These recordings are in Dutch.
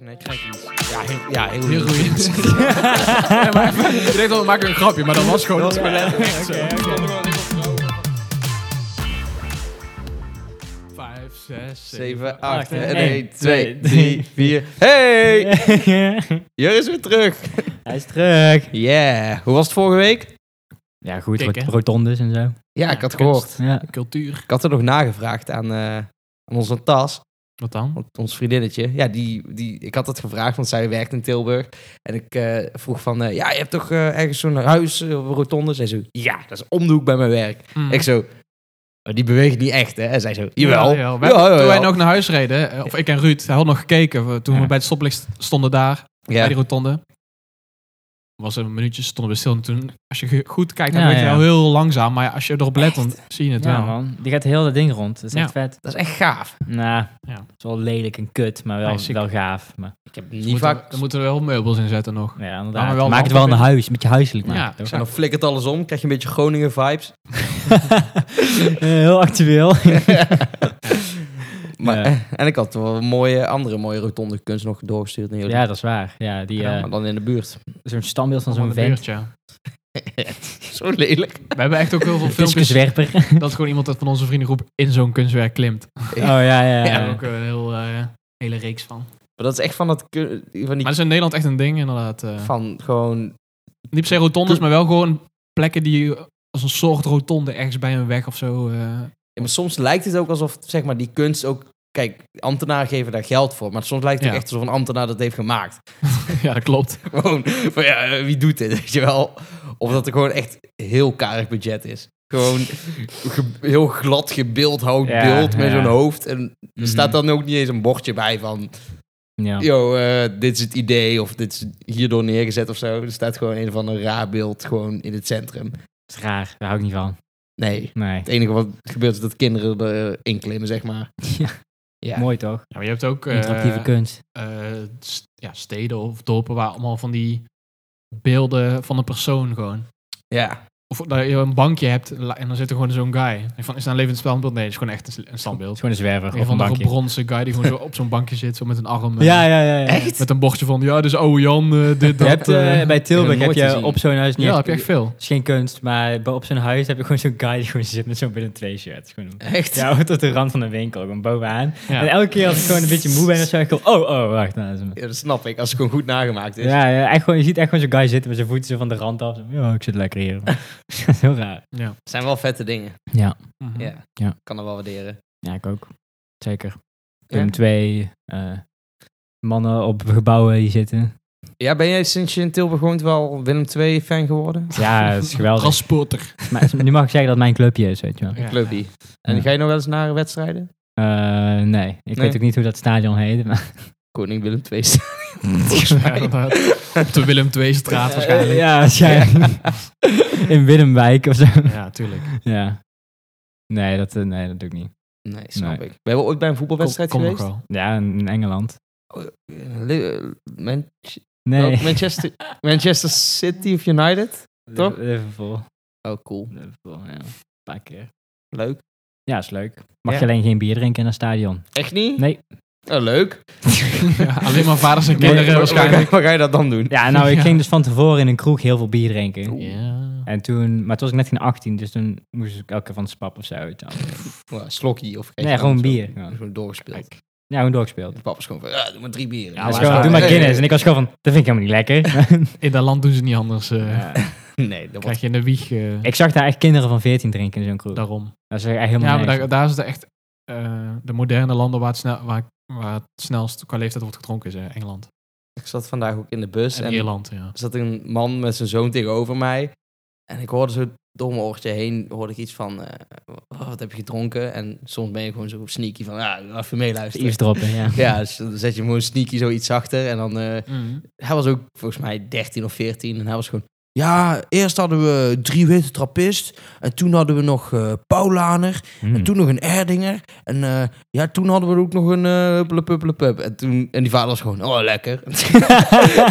Nee, ik krijg iets. Ja, heel, ja, heel, heel goed. ja, maar, ik dacht al, we maken een grapje, maar dat was gewoon Dat is niet gewoon zo. letterlijk zo. Vijf, zes, 7, acht, 8, en 1, één, 2, 3, twee, 4. Hey! Jur is weer terug. Hij is terug. Yeah. Hoe was het vorige week? Ja, goed. Kijk, rot- hè. rotondes en zo. Ja, Ja, ik had kunst. gehoord. Ja. Cultuur. Ik had er nog nagevraagd aan, eh, aan onze Tas, Wat dan? want ons vriendinnetje. Ja, die, die, ik had dat gevraagd, want zij werkt in Tilburg. En ik eh, vroeg van, eh, ja, je hebt toch eh, ergens zo'n huis, eh, rotonde? Zij zo, ja, dat is om de hoek bij mijn werk. Mm. Hm. Ik zo, maar die beweegt niet echt, hè? En zij zo, jawel. Ja, Ja, We hebben- jawel. Toen wij nog naar huis reden, eh, of ik en Ruud, hij had nog gekeken. we- Toen we Ja. bij het stoplicht stonden daar, bij Ja. die rotonde. Was een minuutje, stonden we stil. En toen, als je ge- goed kijkt, dan Ja, weet je ja. wel heel langzaam. Maar als je erop let, dan zie je het ja, wel. Dus man. Die gaat heel dat ding rond. Dat is Ja. echt vet. Dat is echt gaaf. Nou, Ja. het is wel lelijk en kut, maar wel, Nee, sick. wel gaaf. Maar, Ik heb Dus niet moeten, vaak... we- dan moeten we wel meubels in zetten nog. ja, Ja, maar inderdaad. wel Maak het wel een handig. huis, met je huiselijk Ja, maken. toch? En dan flikkert alles om, krijg je een beetje Groningen-vibes. Eh, heel actueel. Maar, eh, Ja. En ik had wel een mooie, andere mooie rotonde kunst nog doorgestuurd. naar jullie. ja, dat is waar. Ja, die, Ja, eh, Maar dan in de buurt. zo'n standbeeld van zo'n Allemaal in de vent. buurt, ja. Zo lelijk. We hebben echt ook heel veel filmpjes Fiscuswerper. oh dat gewoon iemand uit van onze vriendengroep in zo'n kunstwerk klimt. ja, ja. ja. Daar hebben we ook een heel, eh, hele reeks van. Maar Maar dat is echt van, dat, kun- van die... dat is in Nederland echt een ding, inderdaad. eh. Van gewoon... niet per se rotondes, maar wel gewoon plekken die als een soort rotonde ergens bij een weg of zo. eh, Ja, maar soms lijkt het ook alsof zeg maar, die kunst ook... Kijk, ambtenaren geven daar geld voor. Maar soms lijkt het Ja. ook echt alsof een ambtenaar dat heeft gemaakt. ja, dat klopt. gewoon van ja, eh, wie doet dit, weet je wel? Of dat er gewoon echt heel karig budget is. Gewoon ge- heel glad gebeeldhouwd Ja, beeld met ja. zo'n hoofd. En Mhm. er staat dan ook niet eens een bordje bij van... Ja. Yo, eh, dit is het idee of dit is hierdoor neergezet of zo. Er staat gewoon een van een raar beeld gewoon in het centrum. Dat is raar. Daar hou ik niet van. Nee, Nee. het enige wat gebeurt is dat kinderen erin klimmen, zeg maar. Ja. Ja. Mooi toch? Ja, maar je hebt ook eh, Interactieve kunst. eh, st- ja, steden of dorpen waar allemaal van die beelden van een persoon gewoon. Ja. Of dat je een bankje hebt la- en dan zit er gewoon zo'n guy. Ik denk Van, is dat een levend standbeeld? Nee, het is gewoon echt een s- een Het is standbeeld. gewoon een zwerver Een of van een de bankje. bronzen guy die gewoon zo op zo'n bankje zit, zo met een arm. eh, Ja, ja, ja. ja. Echt? Met een bordje van, ja, dus oude Jan, eh, dit, Je dat. hebt, eh, eh. bij heb Tilburg ik heb nooit je gezien. op zo'n huis niet ja, echt- heb je echt veel. Het is geen kunst, maar bij- op zijn huis heb je gewoon zo'n guy die gewoon zit met zo'n binnen twee shirt. Gewoon, Echt? ja, hoort tot de rand van de winkel, gewoon bovenaan. Ja. En elke keer als ik gewoon een beetje moe ben, dan zeg ik gewoon, oh, oh, wacht. Nou, dat is hem. Ja, dat snap ik, als het gewoon goed nagemaakt is. ja, ja echt gewoon, je ziet echt gewoon zo'n guy zitten met zijn voeten zo van de rand af. Zo, ja, ik zit lekker hier. dat is heel raar. Ja. Het zijn wel vette dingen. Ja, Mhm. Ja. Ja. Kan dat wel waarderen. ja ik ook. Zeker. Ja? Pum twee eh, mannen op gebouwen die zitten. Ja, ben jij sinds je in Tilburg woont wel Willem II-fan geworden? Ja, dat is geweldig. Transporter. maar, nu mag ik zeggen dat het mijn clubje is, weet je wel. Ja. Clubby. En Ja. ga je nog wel eens naar wedstrijden? Eh, nee, ik Nee. weet ook niet hoe dat stadion heet. Maar, Koning Willem II. Volgens mij inderdaad. Op de Willem II-straat waarschijnlijk. Ja. ja, als jij- in Willemwijk of zo. tuurlijk. Ja. Nee, dat, eh, nee, dat doe ik niet. Nee, snap Nee. ik. We hebben ooit bij een voetbalwedstrijd Kom- kom geweest. nog wel. Ja, in in Engeland. Le- Man- Nee. welk? Manchester, Manchester City of United? toch? Liv- Liverpool. Oh, cool. Liverpool, ja. Een paar keer. Leuk. Ja, is leuk. Mag Ja. je alleen geen bier drinken in een stadion? Echt niet? Nee. Oh, leuk. Ja, alleen maar vaders en kinderen Waar- waarschijnlijk. Waar, waar ga je dat dan doen? Ja, nou, ik Ja. ging dus van tevoren in een kroeg heel veel bier drinken. Ja. En toen, maar toen was ik net geen 18, dus toen moest ik elke keer van de spap of zo. weet je wel. Ja, slokkie of Nee, gewoon bier. Ja, Gewoon doorgespeeld. Kijk. Ja, gewoon doorgespeeld. De pap is gewoon van, ja, doe maar drie bieren. Ja, Dus maar- gewoon, doe maar Nee, Guinness. En ik was gewoon van, dat vind ik helemaal niet lekker. In dat land doen ze niet anders. eh. Ja. Nee, dat wordt... Krijg je in de wieg eh, Ik zag daar echt kinderen van 14 drinken in zo'n kroeg. daarom. Dat is echt helemaal Ja, maar niks. daar, daar is het echt eh, de moderne landen waar het, snel, waar, waar het snelst qua leeftijd wordt gedronken is. eh, Engeland Ik zat vandaag ook in de bus en, Dus en Ierland, ja. zat een man met zijn zoon tegenover mij. En ik hoorde zo door mijn oortje heen, hoorde ik iets van, eh, "Oh, wat heb je gedronken? En soms ben je gewoon zo sneaky van, ah, even meeluisteren. Eaves droppen, ja. Ja, dus dan zet je hem gewoon sneaky zoiets zachter. En dan, eh, Mm. hij was ook volgens mij 13 of 14 en hij was gewoon... Ja, eerst hadden we drie witte trappist. En toen hadden we nog eh Paulaner. En Hmm. toen nog een Erdinger. En eh, ja, toen hadden we ook nog een eh huppele puppele pup. En, toen, en die vader was gewoon, oh, lekker.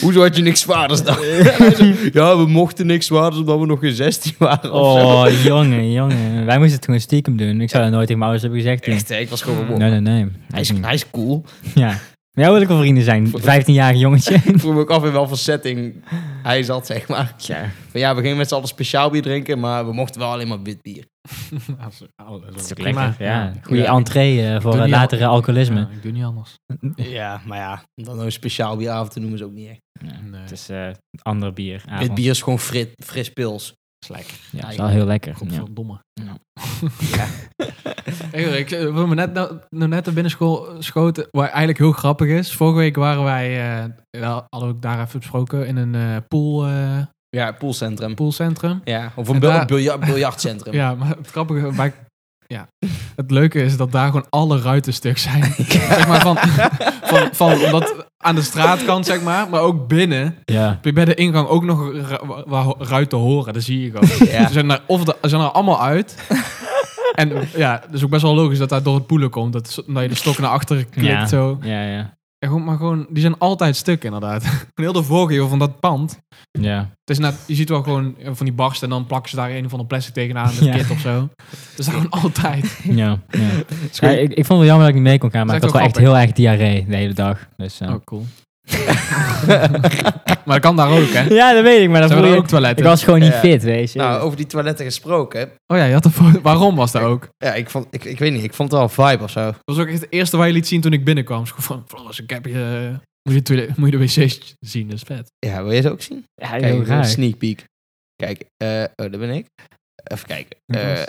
Hoezo had je niks zwaarders dan? En hij zo, ja, we mochten niks zwaarders omdat we nog geen 16 waren of zo. Oh, jongen, jongen. Wij moesten het gewoon stiekem doen. Ik zou dat nooit tegen mijn ouders hebben gezegd. toen. Echt, hè, ik was gewoon Mm. wow. Nee, nee, nee. Hij is, hij is cool. Ja. Maar jou wil ik wel vrienden zijn, Voor- 15-jarige jongetje. Ik vroeg me ook af in welke setting hij zat, zeg maar. Tja, Van ja, we gingen met z'n allen speciaal bier drinken, maar we mochten wel alleen maar wit bier. Dat is- oh, dat dat is is ook wel prima. lekker. Ja, goede Ja. entree eh, voor Doe het niet latere al- alcoholisme. Ja, ik doe niet anders. Ja, maar ja, om dan een speciaal bieravond te noemen is ook niet echt. Nee. Het is eh ander bier. Wit bier is gewoon frit, fris pils. Dat is lekker. Ja, dat is wel heel dus lekker. Ja. Godverdomme. Ja. Hey, hoor, ik eh, wil me net, nou, nou net naar binnen scho- schoten, waar eigenlijk heel grappig is. Vorige week waren wij, eh, ja, hadden we ook daar even besproken, in een eh, pool, eh, Ja, poolcentrum. poolcentrum. Ja, of een En bil- daar- bilja- biljartcentrum. Ja, maar het grappige, maar, ja, het leuke is dat daar gewoon alle ruiten stuk zijn. zeg maar van, van, van wat aan de straatkant, zeg maar, maar ook binnen. Ja. Heb je bij de ingang ook nog ru- wa- wa- ruiten horen. Dat zie je gewoon. Ja. Ze zijn er, of de- ze zijn er allemaal uit. en ja, dus ook best wel logisch dat daar door het poelen komt. Dat, zo- dat je de stok naar achteren klikt Ja. zo. Ja, ja. Ja, gewoon, maar gewoon, die zijn altijd stuk inderdaad. En heel de voorgevel van dat pand. Ja. Het is net, je ziet wel gewoon eh, van die barsten en dan plakken ze daar een of ander plastic tegenaan. Met Ja. kit of zo. Dat is daar gewoon altijd. ja, ja. Is Ja, goed. ik, ik vond het wel jammer dat ik niet mee kon gaan, maar ik Is had echt wel echt wel heel erg diarree de hele dag. Dus, eh. Oh, cool. maar dat kan daar ook, hè? Ja, dat weet ik, maar dat Zijn we voel daar je... ook toiletten? Ik was gewoon niet Ja. fit, weet je. Nou, over die toiletten gesproken. Oh ja, je had een foto. Waarom was dat ook? Ja, ik, vond, ik, ik weet niet, ik vond het wel een vibe of zo. Dat was ook echt het eerste waar je liet zien toen ik binnenkwam. Dus gewoon van, Floris, ik heb je... Moet je, de toilet- moet je de wc's zien, dat is vet. Ja, wil je ze ook zien? ja, Kijk, heel dit is een raar. sneak peek. Kijk, eh, oh, daar ben ik. Even kijken. Dat Eh, was-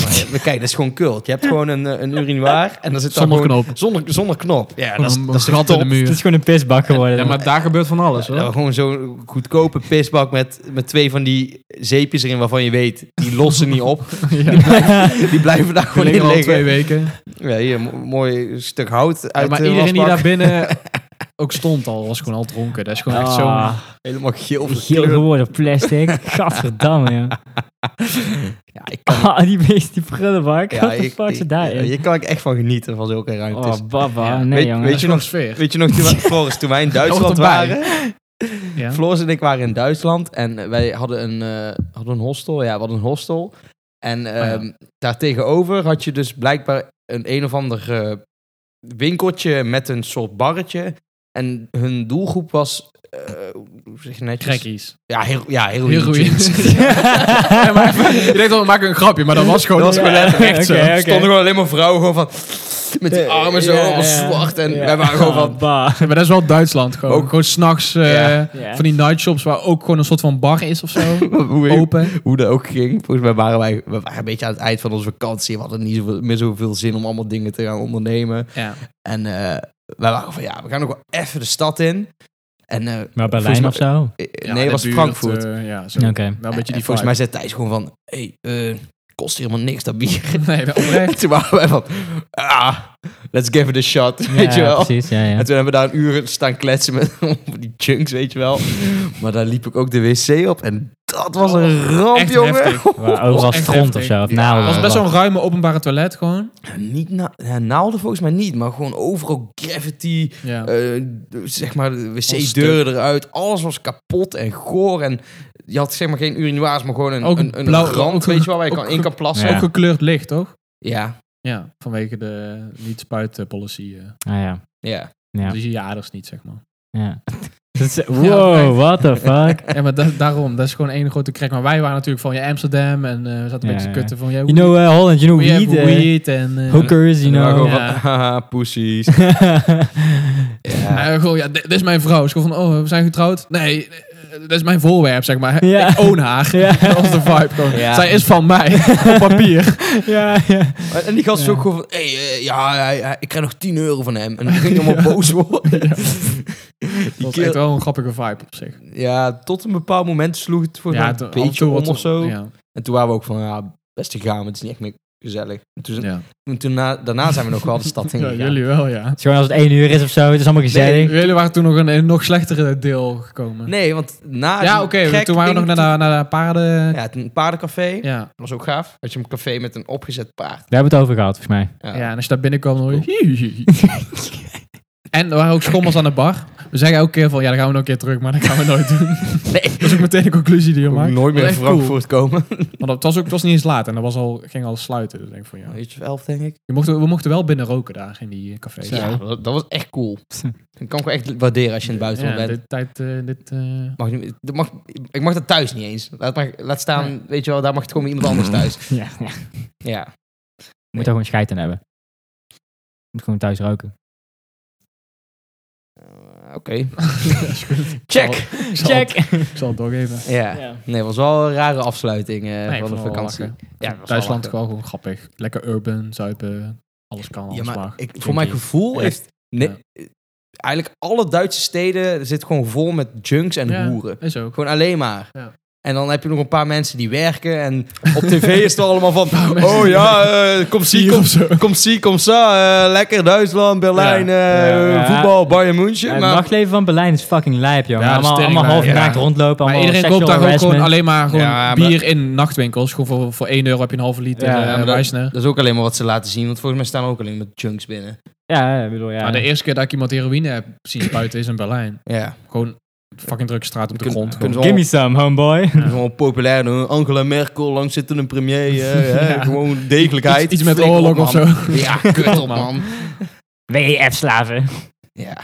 maar ja, kijk, dat is gewoon kult. Je hebt gewoon een, eh, een urinoir en dan zit daar Zonder gewoon... knop. Zonder, zonder knop. Ja, dat is, Gewoon dat is een toch gat in de top? Het muur. is gewoon een pisbak geworden. Ja, maar daar gebeurt van alles, hoor. Ja, gewoon zo'n goedkope pisbak met, met twee van die zeepjes erin waarvan je weet, die lossen niet op. Ja. Die blijven daar We gewoon liggen in al twee liggen. weken. Ja, hier, mo- mooi stuk hout Ja, uit maar de iedereen die wasbak. daar binnen ook stond al, was gewoon al dronken. Dat is gewoon echt Ah, zo'n... Helemaal geel geel gekleurd. geworden plastic. Gadverdamme, ja. Ja, ik kan, Ah, die beest, die prullenbak. ja, Wat de ik- fuck ik- zit daarin? Je kan er echt van genieten van zulke ruimtes. oh, baba. Ja. Nee, Weet- jongen. weet Weet je nog sfeer? Weet je nog, toen wij, Floris, toen wij in Duitsland Dat hoort waren... Ja. Floris en ik waren in Duitsland en wij hadden een, eh, hadden een hostel. Ja, we hadden een hostel. En ehm daartegenover had je dus blijkbaar een een of ander eh, winkeltje met een soort barretje. En hun doelgroep was... eh, hoe zeg je netjes? Trekkies. Ja, heel, ja, heel Heroïne. Ja, maar- Je denkt wel, we maken een grapje, maar dat was gewoon, Dat was Ja. gewoon echt, oké, zo. oké. Er stonden gewoon alleen maar vrouwen gewoon van... Met die armen zo, Ja, allemaal ja. zwart. En Ja. wij waren gewoon Ah, van... bah. Maar dat is wel Duitsland gewoon. Ook- Ook gewoon s'nachts eh Ja. Ja. van die nightshops waar ook gewoon een soort van bar is of zo. Hoe, Open. hoe dat ook ging. Volgens mij waren wij we waren een beetje aan het eind van onze vakantie. We hadden niet zoveel, meer zoveel zin om allemaal dingen te gaan ondernemen. Ja. En eh, wij waren van, ja, we gaan nog wel even de stad in. En eh, Maar Volgens Berlijn mij- of zo? eh, nee, het was Frankfurt. eh, ja, zo. Oké. Wel een beetje en die volgens mij zei Thijs gewoon van, hey, eh, kost helemaal niks dat bier. Nee, wel oprecht. En toen waren wij van, ah, let's give it a shot, Ja, weet je wel. precies. Ja, ja. En toen hebben we daar een uur staan kletsen met over die chunks, weet je wel. Maar daar liep ik ook de wc op en dat was een ramp, echt jongen. heftig. Waar Overal echt stront heftig. of zo. Of Ja, naalden. was eh, best Wat- zo'n ruime openbare toilet gewoon. Nou, Niet na ja, naalden volgens mij niet, maar gewoon overal graffiti, Ja. eh, zeg maar de Alles wc-deuren eruit. Alles was kapot en goor en je had zeg maar geen urinoirs, maar gewoon een, Ook een, een blauw- rand, ook- weet je wel, waar je ook- kan, in kan plassen. Ja. Ja. Ook gekleurd licht, toch? ja, Ja, vanwege de niet-spuiten-policy. eh Ah, ja. Ja. Dus je je aders niet, zeg maar. ja. Dat is- Wow, oprecht. what the fuck? Ja, maar da- daarom, dat is gewoon één grote krek. Maar wij waren natuurlijk van je Amsterdam en eh, we zaten een Ja, beetje ja. te kutten van... jij You know eh, Holland, you know we weed. have eh, weed en... eh, hookers, you En dan waren we know. gewoon Ja. van, haha, pussies. Ja. Ja, gewoon, ja, dit dit is mijn vrouw. Ze gewoon van, oh, we zijn getrouwd. Nee, eh, dat is mijn voorwerp, zeg maar. Ja. Ik own haar. Ja. Dat was de vibe gewoon. Ja. Zij is van mij, op papier. ja, ja. En die gast is ook gewoon van, hey, eh, ja, hij- hij- ik krijg nog 10 euro van hem. En dan ging hij allemaal boos worden. Die Dat is echt kerel, wel een grappige vibe op zich. ja, tot een bepaald moment sloeg het voor mij toen- een af en beetje toe om wordt of er- zo. Ja, En toen waren we ook van, ja, best te gaan, maar het is niet echt meer gezellig. En toen, ja. en toen na- daarna zijn we nog wel de stad in Ja, gegaan. jullie wel, ja. Het is gewoon als het één uur is of zo. Het is allemaal gezellig. Jullie waren toen nog in een nog slechtere deel gekomen. Nee, want na ja, die oké, gek toen waren we nog ding- naar de, naar de paarden... Ja. Ja, het- een paardencafé. Ja. Dat was ook gaaf. Had je een café met een opgezet paard. Daar hebben we het over gehad, volgens mij. Ja. en als je daar binnenkwam, dan hoor je... En er waren ook schommels aan de bar. We zeggen elke keer van, ja, dan gaan we nog een keer terug, maar dat gaan we nooit doen. Nee. Dat is ook meteen de conclusie die je maakt. nooit Dat meer is echt cool. Frankfurt komen. Want het was, ook, het was niet eens laat en dat was al, ging al sluiten. Dus ik denk van, ja. Weet je, elf denk ik. Je mocht, we mochten wel binnen roken daar in die eh, cafés. Ja, dat, dat was echt cool. Dat kan ik wel echt waarderen als je in het buitenland Ja, bent. dit tijd, eh, dit... eh, Mag niet, dat mag, ik mag dat thuis niet eens. Laat, maar, laat staan, weet je wel, daar mag het gewoon iemand anders thuis. ja, ja. Moet Ja. daar gewoon scheid aan hebben. Moet gewoon thuis roken. Eh, Oké. Check. ik zal Check! het- Ik zal het doorgeven. Ja. Nee, was wel een rare afsluiting eh, van de vakantie. Ja, dat was wel Duitsland lachen. gewoon, gewoon grappig. Lekker urban, zuipen, alles kan, alles Ja, maar mag. ik, voor mijn gevoel Ja. heeft... Nee, Eigenlijk alle Duitse steden zitten gewoon vol met junks en Ja, hoeren. Is ook. Gewoon alleen maar. Ja. En dan heb je nog een paar mensen die werken. En op tv is het allemaal van... mensen Oh die ja, eh, kom zie, kom, zo. kom zie, kom sa. eh, lekker Duitsland, Berlijn, eh, Ja, ja. voetbal, Bayern München. Ja, het maar nachtleven van Berlijn is fucking lijp, joh. Ja, dat is allemaal tering allemaal half lijp, naakt ja. rondlopen. Maar Allemaal iedereen koopt daar sexual ook gewoon harassment. alleen maar gewoon Ja, maar- bier in nachtwinkels. Gewoon voor, voor 1 euro heb je een halve liter eh, Ja, ja, ja, maar dat- dat is ook alleen maar wat ze laten zien. Want volgens mij staan er ook alleen maar junks binnen. Ja, ja, ik bedoel, ja. Maar de eerste keer dat ik iemand heroïne heb zien spuiten is in Berlijn. Ja. Gewoon fucking drukke straat op de Kunnen- grond. kunnen Gewoon. ze Gimme some, homeboy. Gewoon populair doen. Angela Merkel, langzittende premier. eh, hè, Gewoon degelijkheid. Iets, iets met Flikker op, oorlog of zo. man. Ja, kut op man. WEF-slaven. Ja.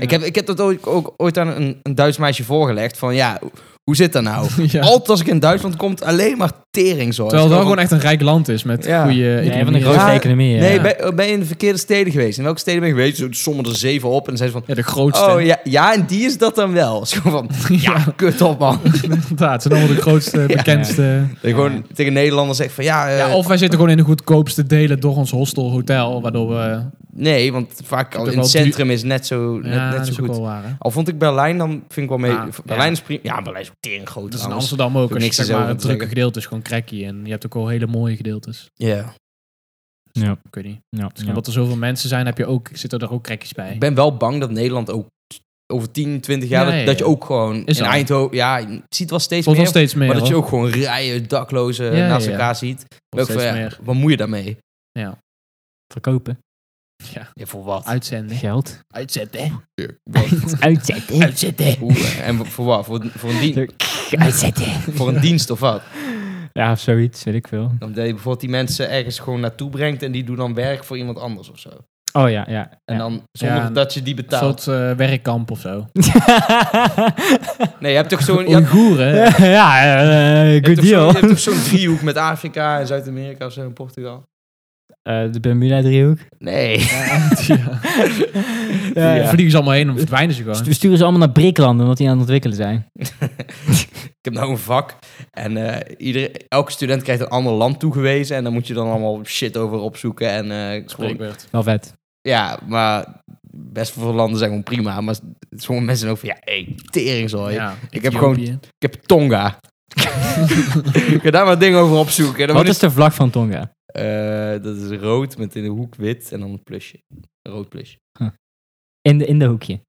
Ik, heb, ik heb dat ook, ook ooit aan een, een Duits meisje voorgelegd. Van ja, hoe zit dat nou? Ja. Altijd als ik in Duitsland kom, alleen maar teringzooi. Terwijl het wel gewoon echt een rijk land is met Ja. goede Nee, economie. van de Ja, grootste Ja, economie. eh, Nee, ja. ben, ben je in de verkeerde steden geweest? In welke steden ben je geweest? Zo Sommen er zeven op en dan zijn ze van... de grootste. Oh ja, ja, en die is dat dan wel. Het is gewoon van, ja, kut op man. Inderdaad, het zijn allemaal de grootste, bekendste. Dat je gewoon tegen Nederlanders zegt van ja... eh, Ja, of wij zitten gewoon in de goedkoopste delen door ons hostel, hotel, waardoor we Nee, want vaak al ook in het wel duur- centrum is net zo, net, ja, net dat zo is ook goed. wel waar, hè. Al vond ik Berlijn, dan vind ik wel mee... Ah, Berlijn ja. is prima. Ja, Berlijn is ook tering groot Dat dus is in trouwens. Amsterdam ook. Doe Als je niks zeg is over maar het te drukke zeggen. gedeelte is gewoon cracky. En je hebt ook wel hele mooie gedeeltes. Ja. Ja, Ik weet niet. ja, Dus ja. Omdat er zoveel mensen zijn, heb je ook, zitten er ook crackies bij. Ik ben wel bang dat Nederland ook over 10, 20 jaar... Ja, dat, ja, dat je ja. ook gewoon Is in al. Eindhoven... Ja, je ziet wel steeds Tot meer. wel steeds meer. maar dat je hoor. ook gewoon rijen daklozen Ja, naast ja, ja. elkaar ziet. Tot Ook van, steeds ja, meer. Wat moet je daarmee? Verkopen. Ja, voor wat? Uitzenden. Geld. Uitzetten. Uitzetten. Uitzetten. Hoe, eh, en voor wat? Voor, voor, een dien- Uitzetten. voor een dienst of wat? Ja, of zoiets, weet ik veel. Dan dat je bijvoorbeeld die mensen ergens gewoon naartoe brengt... en die doen dan werk voor iemand anders of zo. Oh ja, ja. En ja. dan zonder Ja, dat je die Een betaalt. soort eh, werkkamp of zo. Nee, je hebt toch zo'n... Je hebt, Oeigoeren. Ja. ja, eh, je hebt good toch zo'n- deal. je hebt toch zo'n driehoek met Afrika en Zuid-Amerika of zo en Portugal? Eh, de Bermuda-driehoek. Nee. Ja, ja. Die Vliegen ze allemaal heen en verdwijnen ze gewoon. We sturen ze allemaal naar Brikland, omdat die aan het ontwikkelen zijn. Ik heb nou een vak en eh iedere, elke student krijgt een ander land toegewezen. En dan moet je dan allemaal shit over opzoeken. En, eh, gewoon, Spreekbeurt. Wel vet. ja, maar best veel landen zijn gewoon prima. Maar sommige mensen zijn ook van, ja, hey, teringzooi. Ja, Ik heb Ethiopië. Ik heb Tonga. Ik ga daar maar dingen over opzoeken. En dan Wat moet is de vlag van Tonga? ik- Eh, dat is rood met in de hoek wit en dan een plusje. Een rood plusje. In de, in de hoekje.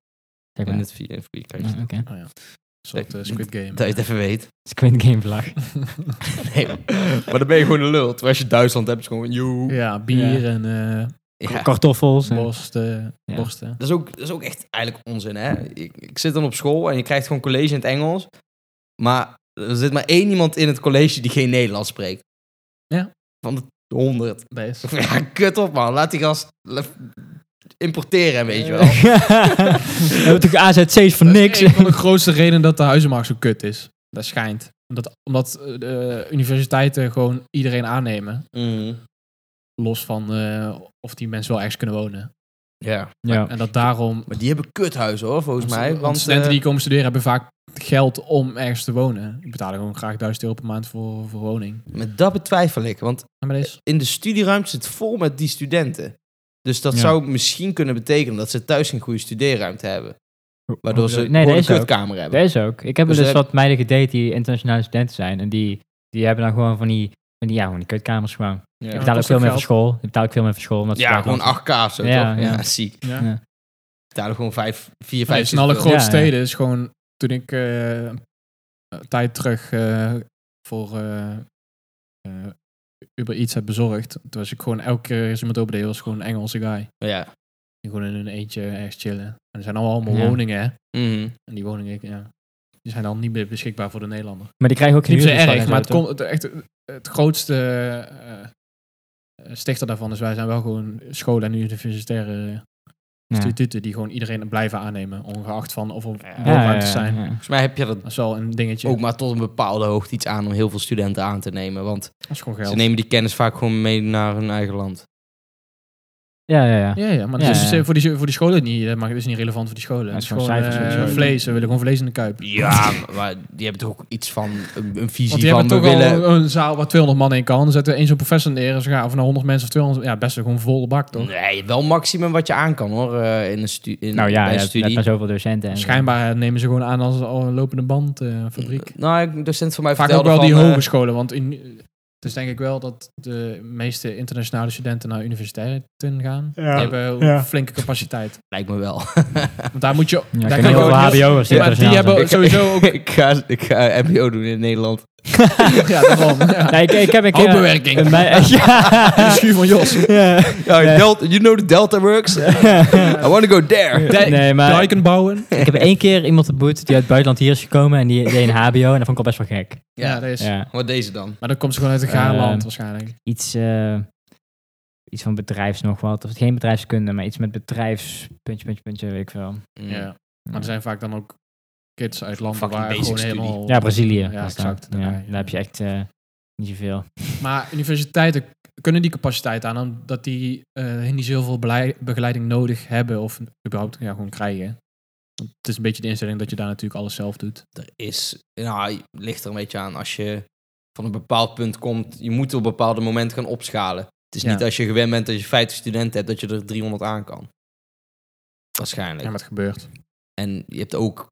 Zeg maar. En het vier en vier kantje. Ah, Oké. Oh Een soort eh, Squid Game. Dat je het even weet. Squid Game vlag. Nee, maar dan ben je gewoon een lul. Terwijl als je Duitsland hebt, is het gewoon joe. Ja, bier en eh, Ja. Kartoffels. en- borsten. Ja. borsten. Dat is, ook, dat is ook echt eigenlijk onzin, hè? Ik, ik zit dan op school en je krijgt gewoon college in het Engels. Maar er zit maar één iemand in het college die geen Nederlands spreekt. Ja. Van de honderd. Best. Ja, kut op, man. Laat die gast lef- importeren, weet je wel. We hebben toch AZC's voor Dat is niks? een van de grootste reden dat de huizenmarkt zo kut is. Dat schijnt. Omdat, omdat eh, de universiteiten gewoon iedereen aannemen. Los van eh, of die mensen wel ergens kunnen wonen. Ja. Ja. En dat daarom... Maar die hebben kuthuizen, hoor, volgens mij. want, Want, studenten eh, die komen studeren hebben vaak geld om ergens te wonen. Die betalen gewoon graag 1000 euro per maand voor, voor woning. Maar dat betwijfel ik. Want Ja, Maar deze... in de studieruimte zit vol met die studenten. Dus dat Ja. zou misschien kunnen betekenen dat ze thuis geen goede studeerruimte hebben. Waardoor ze Nee, dat gewoon een is ook. kutkamer hebben. Dat is ook. Ik heb Dus dus, dus heb- wat meiden gedate die internationale studenten zijn. En die, die hebben dan gewoon van die, van die, ja, gewoon die kutkamers gewoon. Die Ja, betalen ook kost veel ook meer voor geld. school. Die betalen ook veel meer voor school. Omdat ze Ja, daar gewoon 8k of zo, Ja, toch? Ja, ja. ziek. Ja. Ja. Daar gewoon 5, 4, Nee, 5 het is in alle grote Ja, ja. steden is gewoon... Toen ik eh, een tijd terug eh, voor eh, eh, Uber Eats heb bezorgd... Toen was ik gewoon elke keer als iemand opende, was gewoon een Engelse guy. Ja, Die gewoon in hun eentje ergens chillen. En er zijn allemaal Ja. woningen, hè. Mhm. En die woningen, ja, die zijn dan niet meer beschikbaar voor de Nederlander. Maar die krijgen ook Het is geen niet zo huurdersvang erg, en maar het, zo, toch? kon, het, echt, het grootste eh, stichter daarvan is, wij zijn wel gewoon scholen en universitaire Ja. instituten die gewoon iedereen blijven aannemen, ongeacht van of er Ja. Ja, ja, woonruimtes ja, zijn. ja. Volgens mij heb je dat Dat is wel een dingetje. ook maar tot een bepaalde hoogte iets aan om heel veel studenten aan te nemen. Want dat is gewoon ze geld. nemen die kennis vaak gewoon mee naar hun eigen land. Ja, ja, ja. Ja, ja, maar dat Ja, is dus, ja. eh, voor, die, voor die scholen niet, eh, maar het is niet relevant voor die scholen. Ja, Het het is is gewoon gewoon cijfers eh, en zo. vlees, we willen gewoon vlees in de kuip. Ja, maar die hebben toch ook iets van een, een Want visie die van hebben we toch willen... al een zaal waar 200 man in kan. Dan zetten we één zo'n professor neer. Of nou 100 mensen of 200. Ja, best wel gewoon volle bak, toch? Nee, wel maximum wat je aan kan hoor, eh, in een, stu in, Nou ja, bij een je hebt net studie. maar zoveel docenten. En zo. Schijnbaar eh, nemen ze gewoon aan als een lopende bandfabriek. Nou, een docent van mij Vaak ook vertelde wel die van, eh, hogescholen. Want in, het is denk ik wel dat de meeste internationale studenten naar universiteiten gaan. Ja. Die hebben Ja. flinke capaciteit. lijkt me wel. Want daar moet je... Ja, ik daar kan ken heel je veel ook heel- HBO'ers. Ja, maar die internationaal hebben zijn. Ik- sowieso ook... ik, ga, ik ga mbo doen in Nederland. ja, daarvan. Ja. Ja, ik, ik heb een keer... Hoopbewerking. Een mei- In de ja. schuur van Jos. Ja. Ja, Nee. Delta, you know the Delta works? I want to go there. Dijk- Nee, maar- Dijken bouwen. Ik heb één keer iemand ontmoet die uit het buitenland hier is gekomen en die deed een HBO en dat vond ik al best wel gek. Ja, Ja, dat is... Ja. wat deze dan? Maar dan komt ze gewoon uit een gaar Eh, land waarschijnlijk. Iets, eh, iets van bedrijfs nog wat. Of geen bedrijfskunde, maar iets met bedrijfs... Puntje, puntje, puntje, weet ik veel. Mm, Ja. Maar er zijn vaak dan ook kids uit landen Fucking waar basic gewoon studie. helemaal... Ja, Brazilië. was dat. exact. Ja, Ja, daar ja. heb je echt eh, niet zoveel. Maar universiteiten kunnen die capaciteit aan, omdat die eh, niet zoveel belei- begeleiding nodig hebben of überhaupt ja, gewoon krijgen. Want Het is een beetje de instelling dat je daar natuurlijk alles zelf doet. Er is, nou, ligt er een beetje aan als je van een bepaald punt komt. Je moet op een bepaald moment gaan opschalen. Het is Ja. niet als je gewend bent dat je 50 studenten hebt, dat je er 300 aan kan. Waarschijnlijk. Ja, maar het gebeurt. En je hebt ook,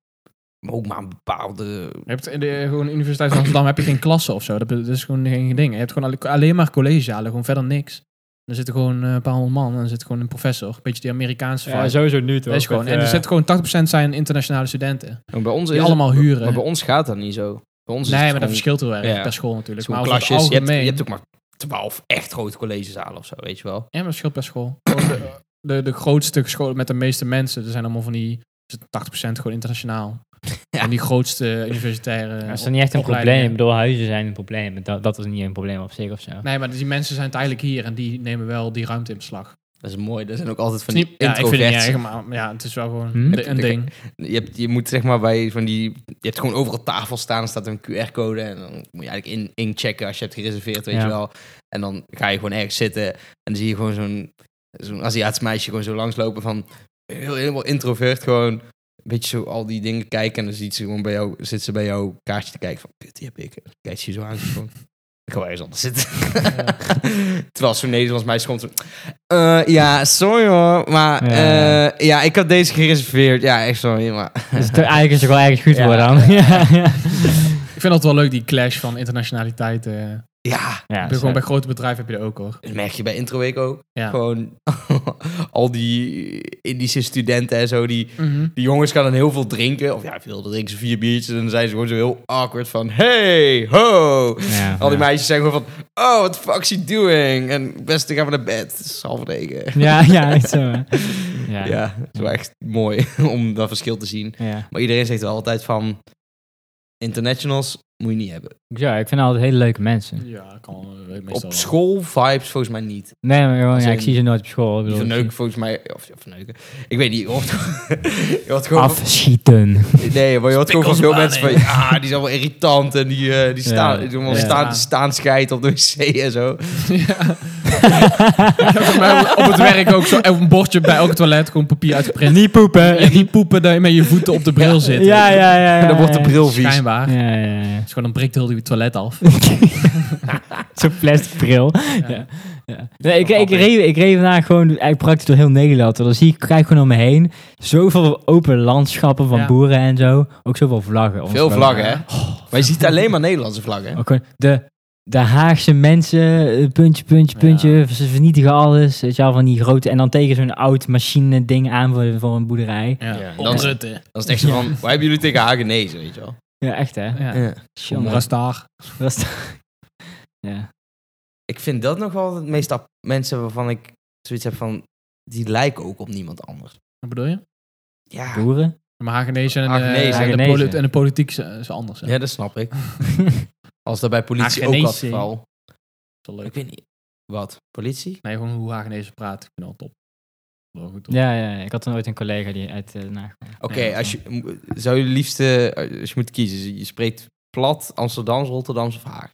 ook maar een bepaalde... Je hebt in de gewoon Universiteit van Amsterdam heb je geen klassen of zo. Dat, be- dat is gewoon geen ding. Je hebt gewoon alle- alleen maar collegezalen, gewoon verder niks. Er zitten gewoon eh, een paar honderd man en er zit gewoon een professor. Een beetje die Amerikaanse vibe. sowieso nu toch. eh, dat is gewoon. En er zit gewoon 80% zijn internationale studenten. Maar Bij ons Die is allemaal eh, Dus het- huren. Maar bij ons gaat dat niet zo. Bij ons is Nee, maar het dat gewoon- verschilt heel erg ja. per school natuurlijk. Het Maar is over gewoon het klasjes. Je hebt, je algemeen- hebt ook maar 12 echt grote collegezalen of zo, weet je wel. Ja, maar het scheelt per school. Gewoon de, de, de grootste scholen met de meeste mensen, er zijn allemaal van die is het 80% gewoon internationaal. Ja. En die grootste universitaire. Dat is dan niet echt een opleidingen. probleem. Ik bedoel, huizen zijn een probleem. Dat, dat is niet een probleem op zich of zo. Nee, maar die mensen zijn tijdelijk hier en die nemen wel die ruimte in beslag. Dat is mooi. Dat zijn ook altijd van Het is die niet, ja, ik vind het niet introverts. erg, maar ja, het is wel gewoon Hm? de- een ding. je, hebt, je moet zeg maar bij van die... Je hebt gewoon overal tafels staan. Er staat een QR-code. En dan moet je eigenlijk in, inchecken als je hebt gereserveerd, weet Ja. je wel. En dan ga je gewoon ergens zitten. En dan zie je gewoon zo'n zo'n Aziatisch meisje gewoon zo langslopen van... Heel, helemaal introvert gewoon. Een beetje zo al die dingen kijken. En dan ziet ze gewoon bij jou, zit ze bij jouw kaartje te kijken van... Kut, die heb ik. En dan Kijkt ze je zo aan. zo Van, ik ga wel ergens anders zitten. Terwijl zo'n Nederlands meisje komt zo... "Eh, ja, sorry hoor, maar Ja, eh, ja, ja, ik had deze gereserveerd. Ja, echt sorry, maar... Dus het- eigenlijk is het wel ergens goed Ja. worden dan. Ja, ja. Ik vind altijd wel leuk, die clash van internationaliteit. eh. Ja, Ja, gewoon zo. bij grote bedrijven heb je dat ook hoor. dat merk je bij Introweek ook. Ja. Gewoon al die Indische studenten en zo, die, die jongens gaan dan heel veel drinken. Of ja, veel dan drinken ze vier biertjes en dan zijn ze gewoon zo heel awkward van... Hey, ho! Ja, Al die ja. meisjes zijn gewoon van... Oh, what the fuck's he doing? En beste, gaan we naar bed. Het is half negen. Ja, ja, echt zo. hè. Ja, Ja. ja. ja het is wel echt mooi om dat verschil te zien. Maar iedereen zegt wel altijd van... Internationals moet je niet hebben. Ja, ik vind altijd hele leuke mensen. Ja, dat kan eh, meestal Op wel. school vibes volgens mij niet. Nee, maar gewoon, Als ja, in- ik zie ze nooit op school. Ik Die bedoel, verneuken ik volgens mij... Of ja, verneuken. Ik weet niet. Je hoort, je hoort zie- gewoon... Afschieten. Nee, maar je hoort gewoon van veel Spikkels mensen van... Ja, die zijn wel irritant. En die, eh, die, staan, Ja, die doen wel ja. staan, staan scheiden op de wc en zo. Ja. Maar op het werk ook zo op een bordje bij elk toilet gewoon papier uitgeprint. Niet poepen. En die poepen dat je met je voeten op de bril zit. Ja, ja, ja. ja, En dan wordt de ja. bril vies. Schijnbaar. Ja, ja, ja. Dus gewoon dan breekt heel die toilet af. Zo'n plastic bril. Ja. Ja. Ja. Nee, ik, ik, grappig. reed, ik reed vandaag gewoon eigenlijk praktisch door heel Nederland. Dan zie ik, kijk gewoon om me heen. Zoveel open landschappen van Ja. boeren en zo. Ook zoveel vlaggen. Veel Ongelooflijk. vlaggen, hè? Maar je ziet alleen maar Nederlandse vlaggen, hè? Ook gewoon de, de Haagse mensen, eh, puntje, puntje, Ja. puntje. Ze vernietigen alles. Weet je wel, van die grote... En dan tegen zo'n oud machine ding aan voor, voor een boerderij. Ja. Ja, Op dan- Rutte. Dan is het echt zo van... Waar hebben jullie tegen Hagenezen, weet je wel? Ja, echt hè? Ja. Tjonge. Rastaar. Dat is toch- ja. Ik vind dat nog wel het meest ap- mensen waarvan ik zoiets heb van... die lijken ook op niemand anders. Wat bedoel je? Ja, Boeren? Maar Hagenezen en, eh, Hagenezen. en, de, Hagenezen. poli- en de politiek is is anders. Hè? ja dat snap ik. Als dat bij politie ook Hagenese. was geval. Dat is wel leuk. Ik weet niet. Wat? Politie? Nee, gewoon hoe Hagenezen praat. Ik vind dat top. Wel goed, top. Ja, ja, ik had dan ooit een collega die uit eh Den Haag kwam. Oké, Ja, als zo. je m- zou je liefste, eh, als je moet kiezen, je spreekt plat, Amsterdams, Rotterdams of Haag?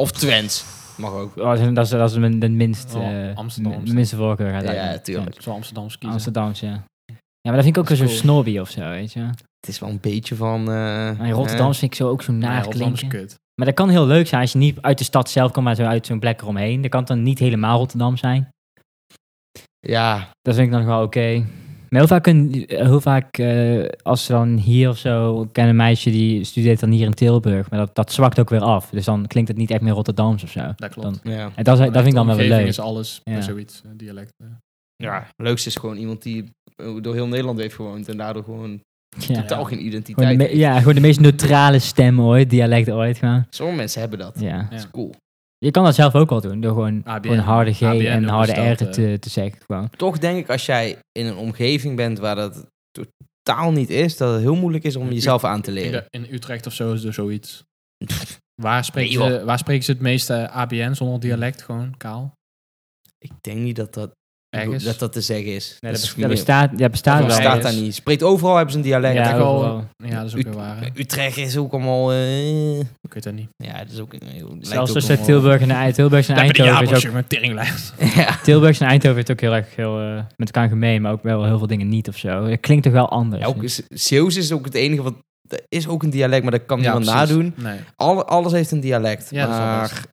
Of Twents, mag ook. Oh, dat is- dat is, dat is mijn, de minst, Oh, eh, Amsterdam. mijn- mijn minste voorkeur. gaat Ja, eigenlijk. tuurlijk. Ik zou Amsterdams Ja, kiezen. Amsterdams, ja. Ja, maar dat vind ik ook Dat wel is zo cool. snobby of zo, weet je. Het is wel een beetje van... eh, Maar in Rotterdams vind ik zo ook zo Nee, naar Rotterdam is klinken. kut. Maar dat kan heel leuk zijn als je niet uit de stad zelf komt, maar zo uit zo'n plek eromheen. Dat kan dan niet helemaal Rotterdam zijn. eh, ja, Dat vind ik dan nog wel oké. Maar heel vaak, een, heel vaak eh, als ze dan hier of zo, ik ken een meisje die studeert dan hier in Tilburg, maar dat, dat zwakt ook weer af. Dus dan klinkt het niet echt meer Rotterdams of zo. Dat klopt. Dan- ja. en dat, is- dat vind ik dan wel weer Omgeving leuk. is alles. Ja. en Zoiets. eh, Dialect. eh. Ja, leukste is gewoon iemand die eh, door heel Nederland heeft gewoond en daardoor gewoon Ja. totaal geen Gewoon de, identiteit me- heeft. ja, gewoon de meest neutrale stem ooit, dialect ooit gewoon. Sommige mensen hebben dat. Ja. Dat is cool. Je kan dat zelf ook wel doen, door gewoon, ABN. gewoon harde G ABN en noemen harde ze dat, eh, R te, te zeggen gewoon. Toch denk ik als jij in een omgeving bent waar dat totaal niet is, dat het heel moeilijk is om Ja, jezelf aan te In, leren. de- in Utrecht of zo is er zoiets. Waar spreken, Nee, ze, waar spreken ze het meeste ABN zonder dialect? Gewoon kaal? Ik denk niet dat dat, Ergens? dat, dat te zeggen is. Nee, dat is dat, bes- dat meer- bestaat, ja, bestaat dat wel. bestaat daar Ergens. niet. Spreekt overal hebben ze een dialect. Ja, Kijk, wel- overal. dus. ja, dat is ook weer Ut- waar. hè? Utrecht is ook allemaal... eh, Ik weet dat niet. ja, dat is ook... eh, lijkt Zelfs ook tussen allemaal- Tilburg en, Ei- Tilburg en Eindhoven is ook met teringlijst. ja. Tilburg en Eindhoven heeft ook heel erg heel, eh, met elkaar gemeen, maar ook wel heel veel dingen niet of zo. Het klinkt toch wel anders. Ja, ook is- Zeeuws is ook het enige wat... Dat is ook een dialect, maar dat kan niemand nadoen. Nee. Alle, alles heeft een dialect. Ja, dat is wel maar best.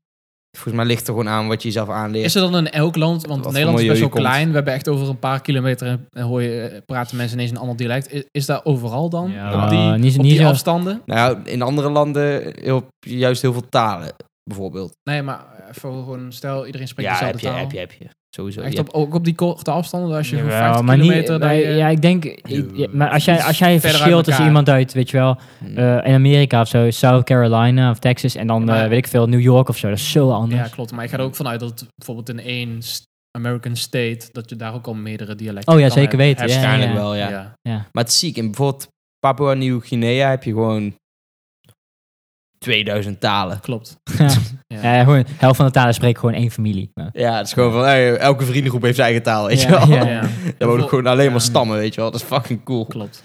volgens mij ligt er gewoon aan wat je jezelf aanleert. Is er dan in elk land, want Wat Nederland is voor milieu best wel je komt. klein. We hebben echt over een paar kilometer eh, hoor je, eh, praten mensen ineens een ander dialect. Is, is dat overal dan? Ja, op die, niet- op niet die zo- afstanden? Nou, in andere landen heel, juist heel veel talen, bijvoorbeeld. Nee, maar eh, voor gewoon stel iedereen spreekt Ja, heb dezelfde je, taal. heb je, heb je. Sowieso. Echt je op, ook op die korte afstanden, als je gewoon Jawel, 50 maar niet- kilometer... dat maar je- ja, ik denk, ik- ja, maar als jij, als jij Verder uit verschilt tussen elkaar. iemand uit, weet je wel, hebt- eh, in Amerika of zo, South Carolina of Texas en dan, Ja, maar- eh, weet ik veel, New York of zo, dat is zo anders. Ja, klopt. Maar ik ga er ook vanuit dat het bijvoorbeeld in één st- American state, dat je daar ook al meerdere dialecten Oh ja, kan zeker hebben. weten, Hebben. ja, Waarschijnlijk wel, ja. Ja. Maar het is ziek. In bijvoorbeeld Papua Nieuw-Guinea heb je gewoon 2000 talen. klopt. Ja. Ja, Eh, gewoon, de helft van de talen spreekt gewoon één familie. Ja. Ja, het is gewoon van, hey, elke vriendengroep heeft zijn eigen taal, weet je Ja, wel. ja. Ja. Daar wonen gewoon alleen maar stammen, weet je wel. Dat is fucking cool. Klopt.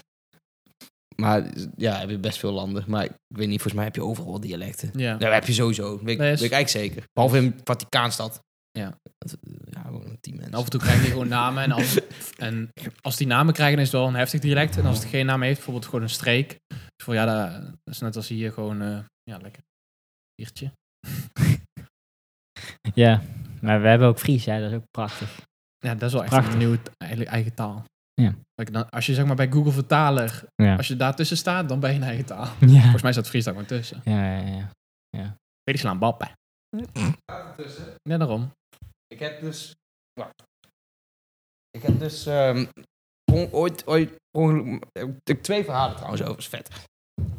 Maar ja, heb je best veel landen. Maar ik weet niet, volgens mij heb je overal dialecten. Ja. Nou, heb je sowieso. Weet, ik- Nee, is- weet ik eigenlijk zeker. Behalve in Vaticaanstad. Ja. Dat- eh, Ja, gewoon tien En mensen. af en toe krijg je gewoon namen. En als, en als die namen krijgen, is het wel een heftig dialect. En als het geen naam heeft, bijvoorbeeld gewoon een streek. Dus voor ja, dat dat is net als hier gewoon, eh, ja, lekker. Biertje. ja, maar we hebben ook Fries, hè, dat is ook prachtig. Ja, dat is wel echt Prachtig. een nieuwe t- eigen, eigen taal. Ja. Kijk, dan- Als je zeg maar bij Google Vertaler, Ja. als je daartussen staat, dan ben je een eigen taal. Ja, Volgens mij staat Fries daar gewoon tussen. ja, ja. ja. Weet je, slaan bappen. Ja, daarom. Ik heb dus. Wacht. Ik heb dus. ehm, on- ooit. ooit per ongeluk, heb ik twee verhalen trouwens over, is vet.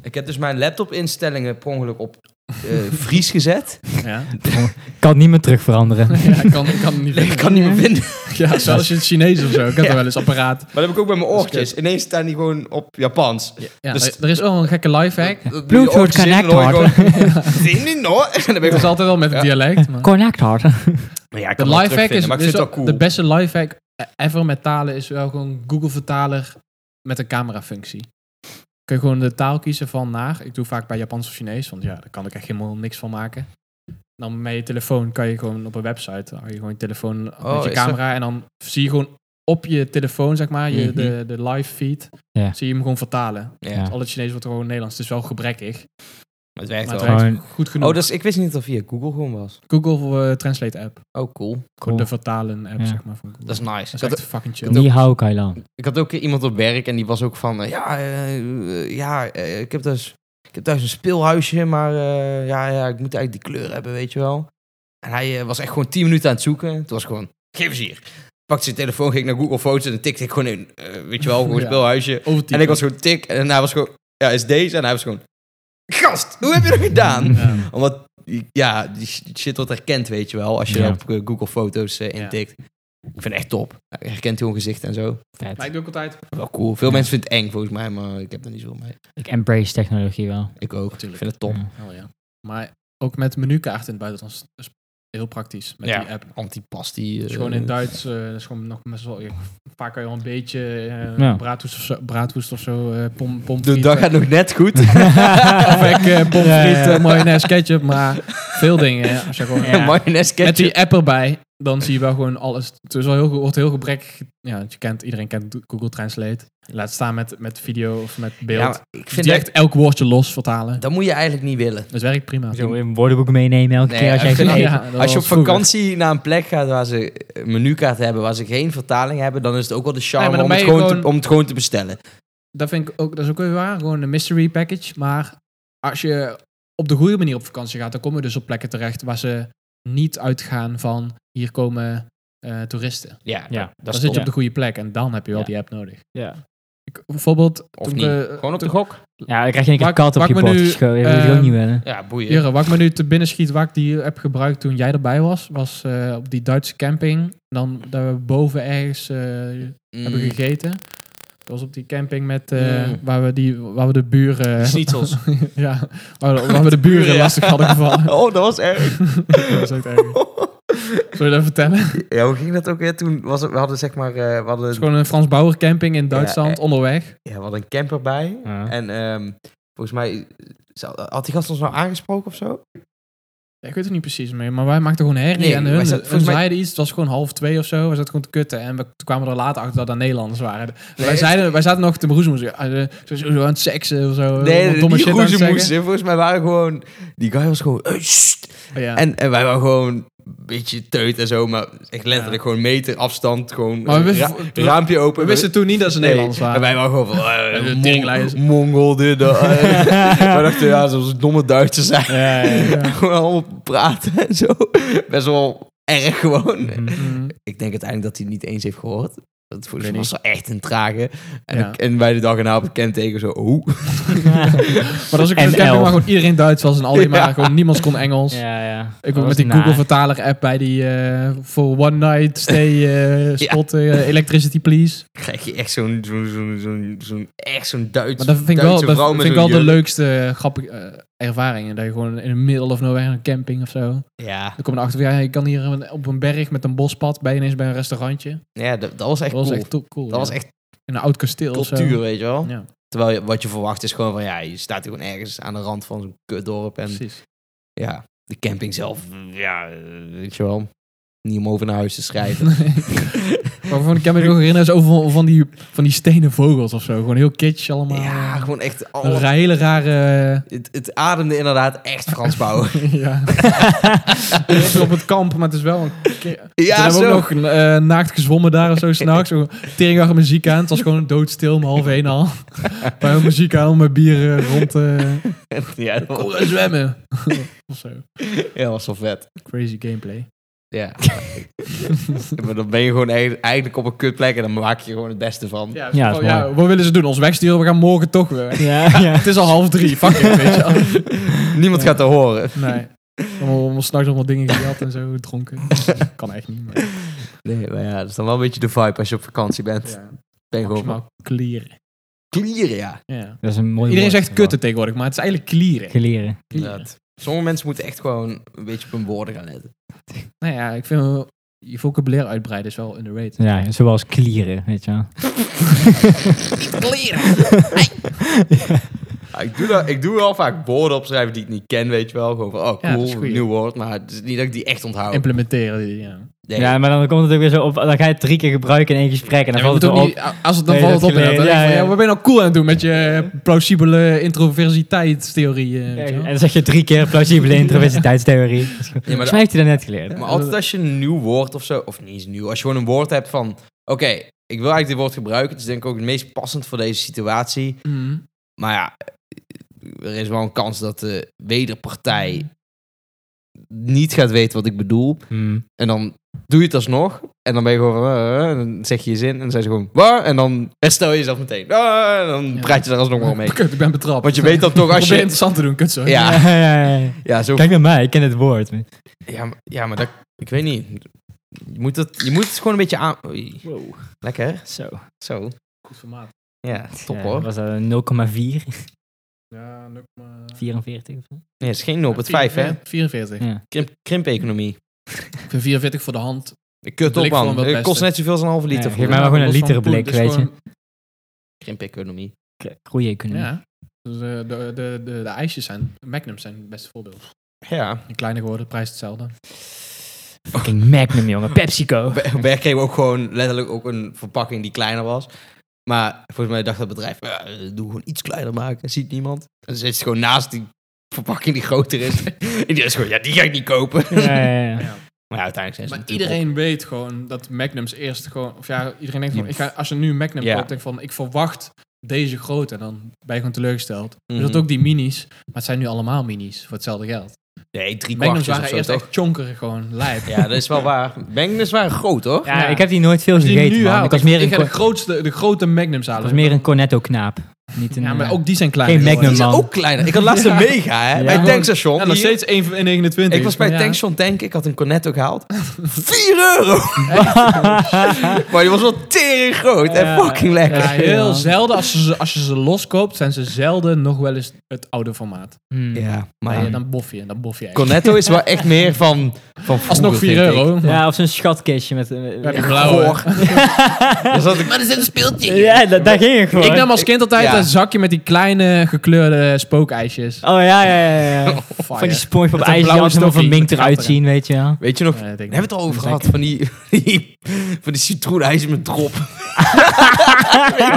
Ik heb dus mijn laptop-instellingen per ongeluk op eh, Fries gezet. Ja. Ik kan het niet meer terug veranderen. Ja, ik kan, ik kan het niet ik kan niet meer vinden. Ja, zelfs in het Chinees of zo. Ik had Ja. er wel eens apparaat. Maar dat heb ik ook bij mijn Dat is oortjes. Ineens staan die gewoon op Japans. Ja, Dus- er, er is wel een gekke lifehack. Bluetooth connect hard. Zin in hoor. En dan ben ik Ik was gewoon- altijd wel met het dialect. Maar. Connect hard. Maar ja, ik De kan het wel lifehack is, terugvinden, maar ik is vind het wel cool. de beste lifehack ever met talen is wel gewoon Google Vertaler met een camerafunctie. Kun je gewoon de taal kiezen van naar. Ik doe vaak bij Japans of Chinees, want ja, daar kan ik echt helemaal niks van maken. Dan met je telefoon kan je gewoon op een website, dan hou je gewoon je telefoon Oh, met je is dat- camera en dan zie je gewoon op je telefoon, zeg maar, je, Mhm. de, de live feed, Ja. zie je hem gewoon vertalen. Ja, Ja. maar Al het Chinees wordt gewoon Nederlands. Het is wel gebrekkig. het werkt Maar het wel. werkt. werkt goed genoeg. Oh, dus ik wist niet dat het via Google gewoon was. Google eh, Translate app. Oh, cool. Gewoon de vertalen app, Ja. zeg maar. Van Google. Dat is nice. Dat Ik is had- echt fucking chill. Niet hou Kailan. Ik had ook iemand op werk en die was ook van... eh, ja, eh, eh, ja eh, ik, heb dus, ik heb thuis een speelhuisje, maar eh, ja, ja, ik moet eigenlijk die kleur hebben, weet je wel. En hij eh, was echt gewoon 10 minuten aan het zoeken. Het was gewoon, geef eens hier. Pakte zijn telefoon, ging naar Google Foto's en dan tikte ik gewoon in, eh, weet je wel, gewoon Ja. speelhuisje. Overtypen. En ik was gewoon tik en hij was gewoon, ja, is deze? En hij was gewoon, gast, hoe heb je dat gedaan? Ja. Omdat, ja, die shit wordt herkend, weet je wel, als je Ja. op eh, Google Foto's eh, Ja. intikt. Ik vind het echt top. Hij herkent heel een gezicht en zo. Vet. Maar ik doe ook altijd... Wel cool. Veel Ja. mensen vinden het eng volgens mij, maar ik heb er niet zoveel mee. Ik embrace technologie wel. Ik ook. Natuurlijk. Ik vind het top. Ja. Oh, ja. Maar ook met menukaarten in het buitenland is- is heel praktisch met Ja. die app. Antipasti. Het is eh, gewoon in Duits, eh, dat is gewoon nog best wel... Vaak kan je al een beetje eh Ja. braadwoest of zo, braadwoest of zo eh, pom, De pomfriet, dag eh, gaat nog net goed. Of ik eh, pomfriet, Ja, ja. eh, mayonaise, ketchup, maar veel dingen. hè. Als je gewoon, Ja. Mayonaise Met ketchup. die app erbij, dan zie je wel gewoon alles. Het is wel heel, wordt heel gebrekkig. Ja, want je kent, iedereen kent Google Translate. Laat staan met, met video of met beeld. Ja, maar ik vind die echt, echt elk woordje los vertalen. dat moet je eigenlijk niet willen. Dat werkt prima. Zo een woordenboek meenemen elke Nee, keer als ik jij vind gaat dat- eten. Ja, dat Als je op was vroeger. vakantie naar een plek gaat waar ze een menukaart hebben, waar ze geen vertaling hebben, dan is het ook wel de charme Nee, maar om, dan het ben je gewoon te, gewoon- om het gewoon te bestellen. Dat vind ik ook, dat is ook weer waar. Gewoon een mystery package. Maar als je op de goede manier op vakantie gaat, dan kom je dus op plekken terecht waar ze niet uitgaan van hier komen eh, toeristen. Ja, Ja, dat dan is zit je top. op de goede plek en dan heb je wel Ja. die app nodig. Ja. Ik, bijvoorbeeld, Of toen niet. ik, eh, gewoon op de gok. ja, dan krijg je een keer Maak- kat op maak je me bord nu, geschoten. Dat wil ik ook ehm, niet willen. Ja, boeien. Jure, wat ik me nu te binnen schiet, wat ik die heb gebruikt toen jij erbij was, was eh, op die Duitse camping. Dan daar we boven ergens eh, Mm. hebben gegeten. Dat was op die camping met, eh, Mm. waar, we die, waar we de buren... eh, Schnitzels. ja, waar, we- waar we de buren Ja. lastig hadden gevallen. Oh, dat was erg. dat is echt erg. Zou je dat vertellen? Het Ja, hoe ging dat ook weer? Toen was het, we hadden zeg maar, eh, we hadden, is gewoon een Frans Bauer camping in Duitsland, eh. onderweg. ja, we hadden een camper bij. Ja. En ehm, volgens mij, zou- had die gast ons nou aangesproken of zo? Eh, Ja, Ik weet het niet precies meer, maar wij maakten gewoon herrie Nee, en wij hun, zaten- hun volgens mij- zeiden iets. Het was gewoon half twee of zo. We zaten gewoon te kutten en we toen kwamen we er later achter dat dat Nederlanders waren. wij, zeiden, wij zaten nog te broezemoes. Ja, eh, zo, zo, zo aan het seksen of zo. Nee, allemaal die domme shit aan het roezemoes, zeggen. hè. Volgens mij waren gewoon... Die guy was gewoon... "Hey, sst." Oh Ja. En, en wij waren gewoon een beetje teut en zo. Maar echt letterlijk gewoon meter afstand. Gewoon Maar we wisten- ra- raampje open. we wisten toen niet dat ze Nee. Nederlands En waren. wij waren gewoon van... eh, De Mong- teringlijers. Mongol dit, dat. eh. wij dachten, ja, zoals domme Duitsers zijn. Ja, ja, ja. gewoon allemaal praten en zo. Best wel erg gewoon. Mm. Ik denk uiteindelijk dat hij niet eens heeft gehoord. Dat volgens weet mij was wel echt een trage. En, Ja. ik- en wij de dag erna op het kenteken zo... Oh. Maar dat was ook een camping ML. waar gewoon iedereen Duits was en al die maar Ja. gewoon niemand kon Engels. Ja, ja. Ik Dat ook was met die naar. Google Vertaler app bij die eh voor one night stay eh, spot eh, electricity please. krijg je echt zo'n zo'n zo'n zo'n zo'n echt zo'n Duits Maar dat vind ik wel, Duitse dat vrouw vind met ik wel zo'n de jurk. leukste grappige eh, ervaringen. Dat je gewoon in de middle of nowhere een camping of zo. ja Dan kom je erachter van ja, je kan hier een- op een berg met een bospad bij ineens bij een restaurantje. ja dat, dat was Dat echt was cool echt to- cool. dat was ja. eh, echt in een oud kasteel of cultuur zo. weet je wel Ja, terwijl je, wat je verwacht is gewoon van ja je staat hier gewoon ergens aan de rand van zo'n kutdorp en precies. ja de camping zelf mm, ja eh, weet je wel niet om over naar huis te schrijven Waarvan ik me nog herinneren is over van, van die, van die stenen vogels of zo. Gewoon heel kitsch allemaal. ja gewoon echt Een alle, ra- hele rare... het, het ademde inderdaad echt Frans bouwen ja. Het is op het kamp, maar het is wel een... Toen ja hebben we zo ook nog eh, naakt gezwommen daar of zo s'nachts. Zo Teringdag muziek aan. Het was gewoon doodstil om half één al. Wij hadden muziek aan om met bier eh, rond te... ja dat was, zwemmen. of zo. ja, was wel vet Crazy gameplay. ja maar dan ben je gewoon e- eigenlijk op een kutplek en dan maak je gewoon het beste van Ja, Ja, is oh, ja, mooi. wat willen ze doen? Ons wegsturen? We gaan morgen toch weer. Ja, ja. Het is al half drie. Fuck it, weet je wel. Niemand gaat er horen. Nee. Allemaal, allemaal s'nachts allemaal dingen gejat en zo, dronken. kan echt niet, maar... Nee, maar ja, dat is dan wel een beetje de vibe als je op vakantie bent. Ja, ben je gewoon maximaal klieren. klieren, ja. Ja. Dat is een mooi Iedereen woord zegt ervoor. kutten tegenwoordig, maar het is eigenlijk klieren. Geleren. Inderdaad. Sommige mensen moeten echt gewoon een beetje op hun woorden gaan letten. Nou ja, ik vind wel- je vocabulaire uitbreiden is wel underrated. Ja, zoals klieren, weet je wel. Klieren! Ja, ik, doe dat, ik doe wel vaak woorden opschrijven die ik niet ken, weet je wel. Gewoon van, oh Ja, dat cool, is een goeie. nieuw woord. Maar het is niet dat ik die echt onthoud. Implementeren die, ja. Nee. Ja, maar dan komt het ook weer zo op. Dan ga je het drie keer gebruiken in één gesprek. En dan Ja, maar valt je het moet ook ook niet- als het dan Nee, valt het dat op, ja, geleerd. dan denk Ja, je van, ja. ja, wat ben je nou cool aan het doen met je plausibele introversiteitstheorie? eh, weet je En wel? dan zeg je drie keer plausibele introversiteitstheorie. maar Volgens mij heeft hij dat net geleerd. Maar altijd als je een nieuw woord of zo, of niet eens nieuw, als je gewoon een woord hebt van, oké, ik wil eigenlijk dit woord gebruiken. Het is denk ik ook het meest passend voor deze situatie. Mhm. Maar ja, er is wel een kans dat de wederpartij niet gaat weten wat ik bedoel. Hmm. En dan doe je het alsnog. En dan ben je gewoon van, eh, eh, en dan zeg je je zin. En dan zijn ze gewoon, waar? En dan herstel je jezelf meteen. Ah, en dan Ja. praat je er alsnog wel mee. Kut, ik ben betrapt. Want je weet dan toch als Probeer je... interessant te doen, kut zo. Ja, Ja, ja, ja. ja, zo, Kijk naar mij, ik ken het woord. ja, maar- ja maar dat, ik weet niet. Je moet het, je moet het gewoon een beetje aan... Oei, Wow. lekker. Zo. Zo. Goed formaat. Ja, top Ja, hoor. Was dat een 0,4? Ja, eh, 44 of zo? Nee, het is geen 0 op het 5, hè? 44. Ja. Krimp, krimpeconomie. Ik vind 44 voor de hand. Kut op, Blik van man. wel Het kost beste. net zoveel als een halve liter. Ja, voor geef mij maar de gewoon Los een van literenblik, Poel, dus weet je. gewoon- Krimpeconomie. Groeieconomie. Ja. Dus, eh, de, de, de, de ijsjes zijn, Magnums zijn het beste voorbeeld. Ja. Een kleine geworden, prijs hetzelfde. Fucking Magnum, jongen. PepsiCo. Bij bij kregen we ook gewoon letterlijk ook een verpakking die kleiner was. Maar volgens mij dacht dat bedrijf, ja, eh, doe gewoon iets kleiner maken, ziet niemand. En zit ze gewoon naast die verpakking die groter is. en die is gewoon, ja, die ga ik niet kopen. ja, ja, ja. Maar ja, uiteindelijk zijn ze Maar natuurlijk iedereen weet gewoon dat Magnums eerst gewoon... Of ja, iedereen denkt van, Ja. ik ga, als je nu Magnum Ja. koopt, denk van, ik verwacht deze grootte. En dan ben je gewoon teleurgesteld. op. Dus Je had ook die minis, maar het zijn nu allemaal minis voor hetzelfde geld. Nee, drie Magnums kwartjes waren of zo, eerst toch? echt chonkerig, gewoon lijp. Ja, dat is wel waar. Magnums waren groot, hoor. Ja, Ja. ik heb die nooit veel Als je die gegeten, nu man. haalt, Ik was ik- meer ik een, ga co- de, grootste, de grote Magnums halen. ik was meer een Cornetto-knaap. Niet een, ja, maar eh, ook die zijn klein. geen geworden. Die Magnum, is man. ook kleiner. Ik had laatst een Ja. mega, hè. Ja. Bij het Gewoon- tankstation. Ja, nog Hier. steeds 1,29. Ik was bij het Ja. tankstation tanken. Ik had een Cornetto gehaald. 4 euro! maar die was wel tering groot en Ja. fucking lekker. Ja, Ja, heel ja. zelden. Als je, ze, als je ze loskoopt, zijn ze zelden nog wel eens het oude formaat. hmm. Ja, Maar maar ja, dan bof je, dan bof je echt. Cornetto is wel echt meer van, van vroeger, Alsnog 4 vind ik. euro. maar- Ja, of zo'n schatkistje met... eh, Ja, die ja, blauwe. Goor. Daar zat ik... Maar er zit een speeltje ja, da- daar ging je gewoon. Ik nam als kind altijd Ja. een zakje met die kleine gekleurde spookijsjes. Oh ja, ja, ja. ja. Oh, Van die SpongeBob Oh, Met een ijsjes die blauwe altijd nog van stokkie. mink Met eruit gaten. zien, weet je wel. Weet je nog... We hebben het al over gehad van die, die, van die citroenijs met drop.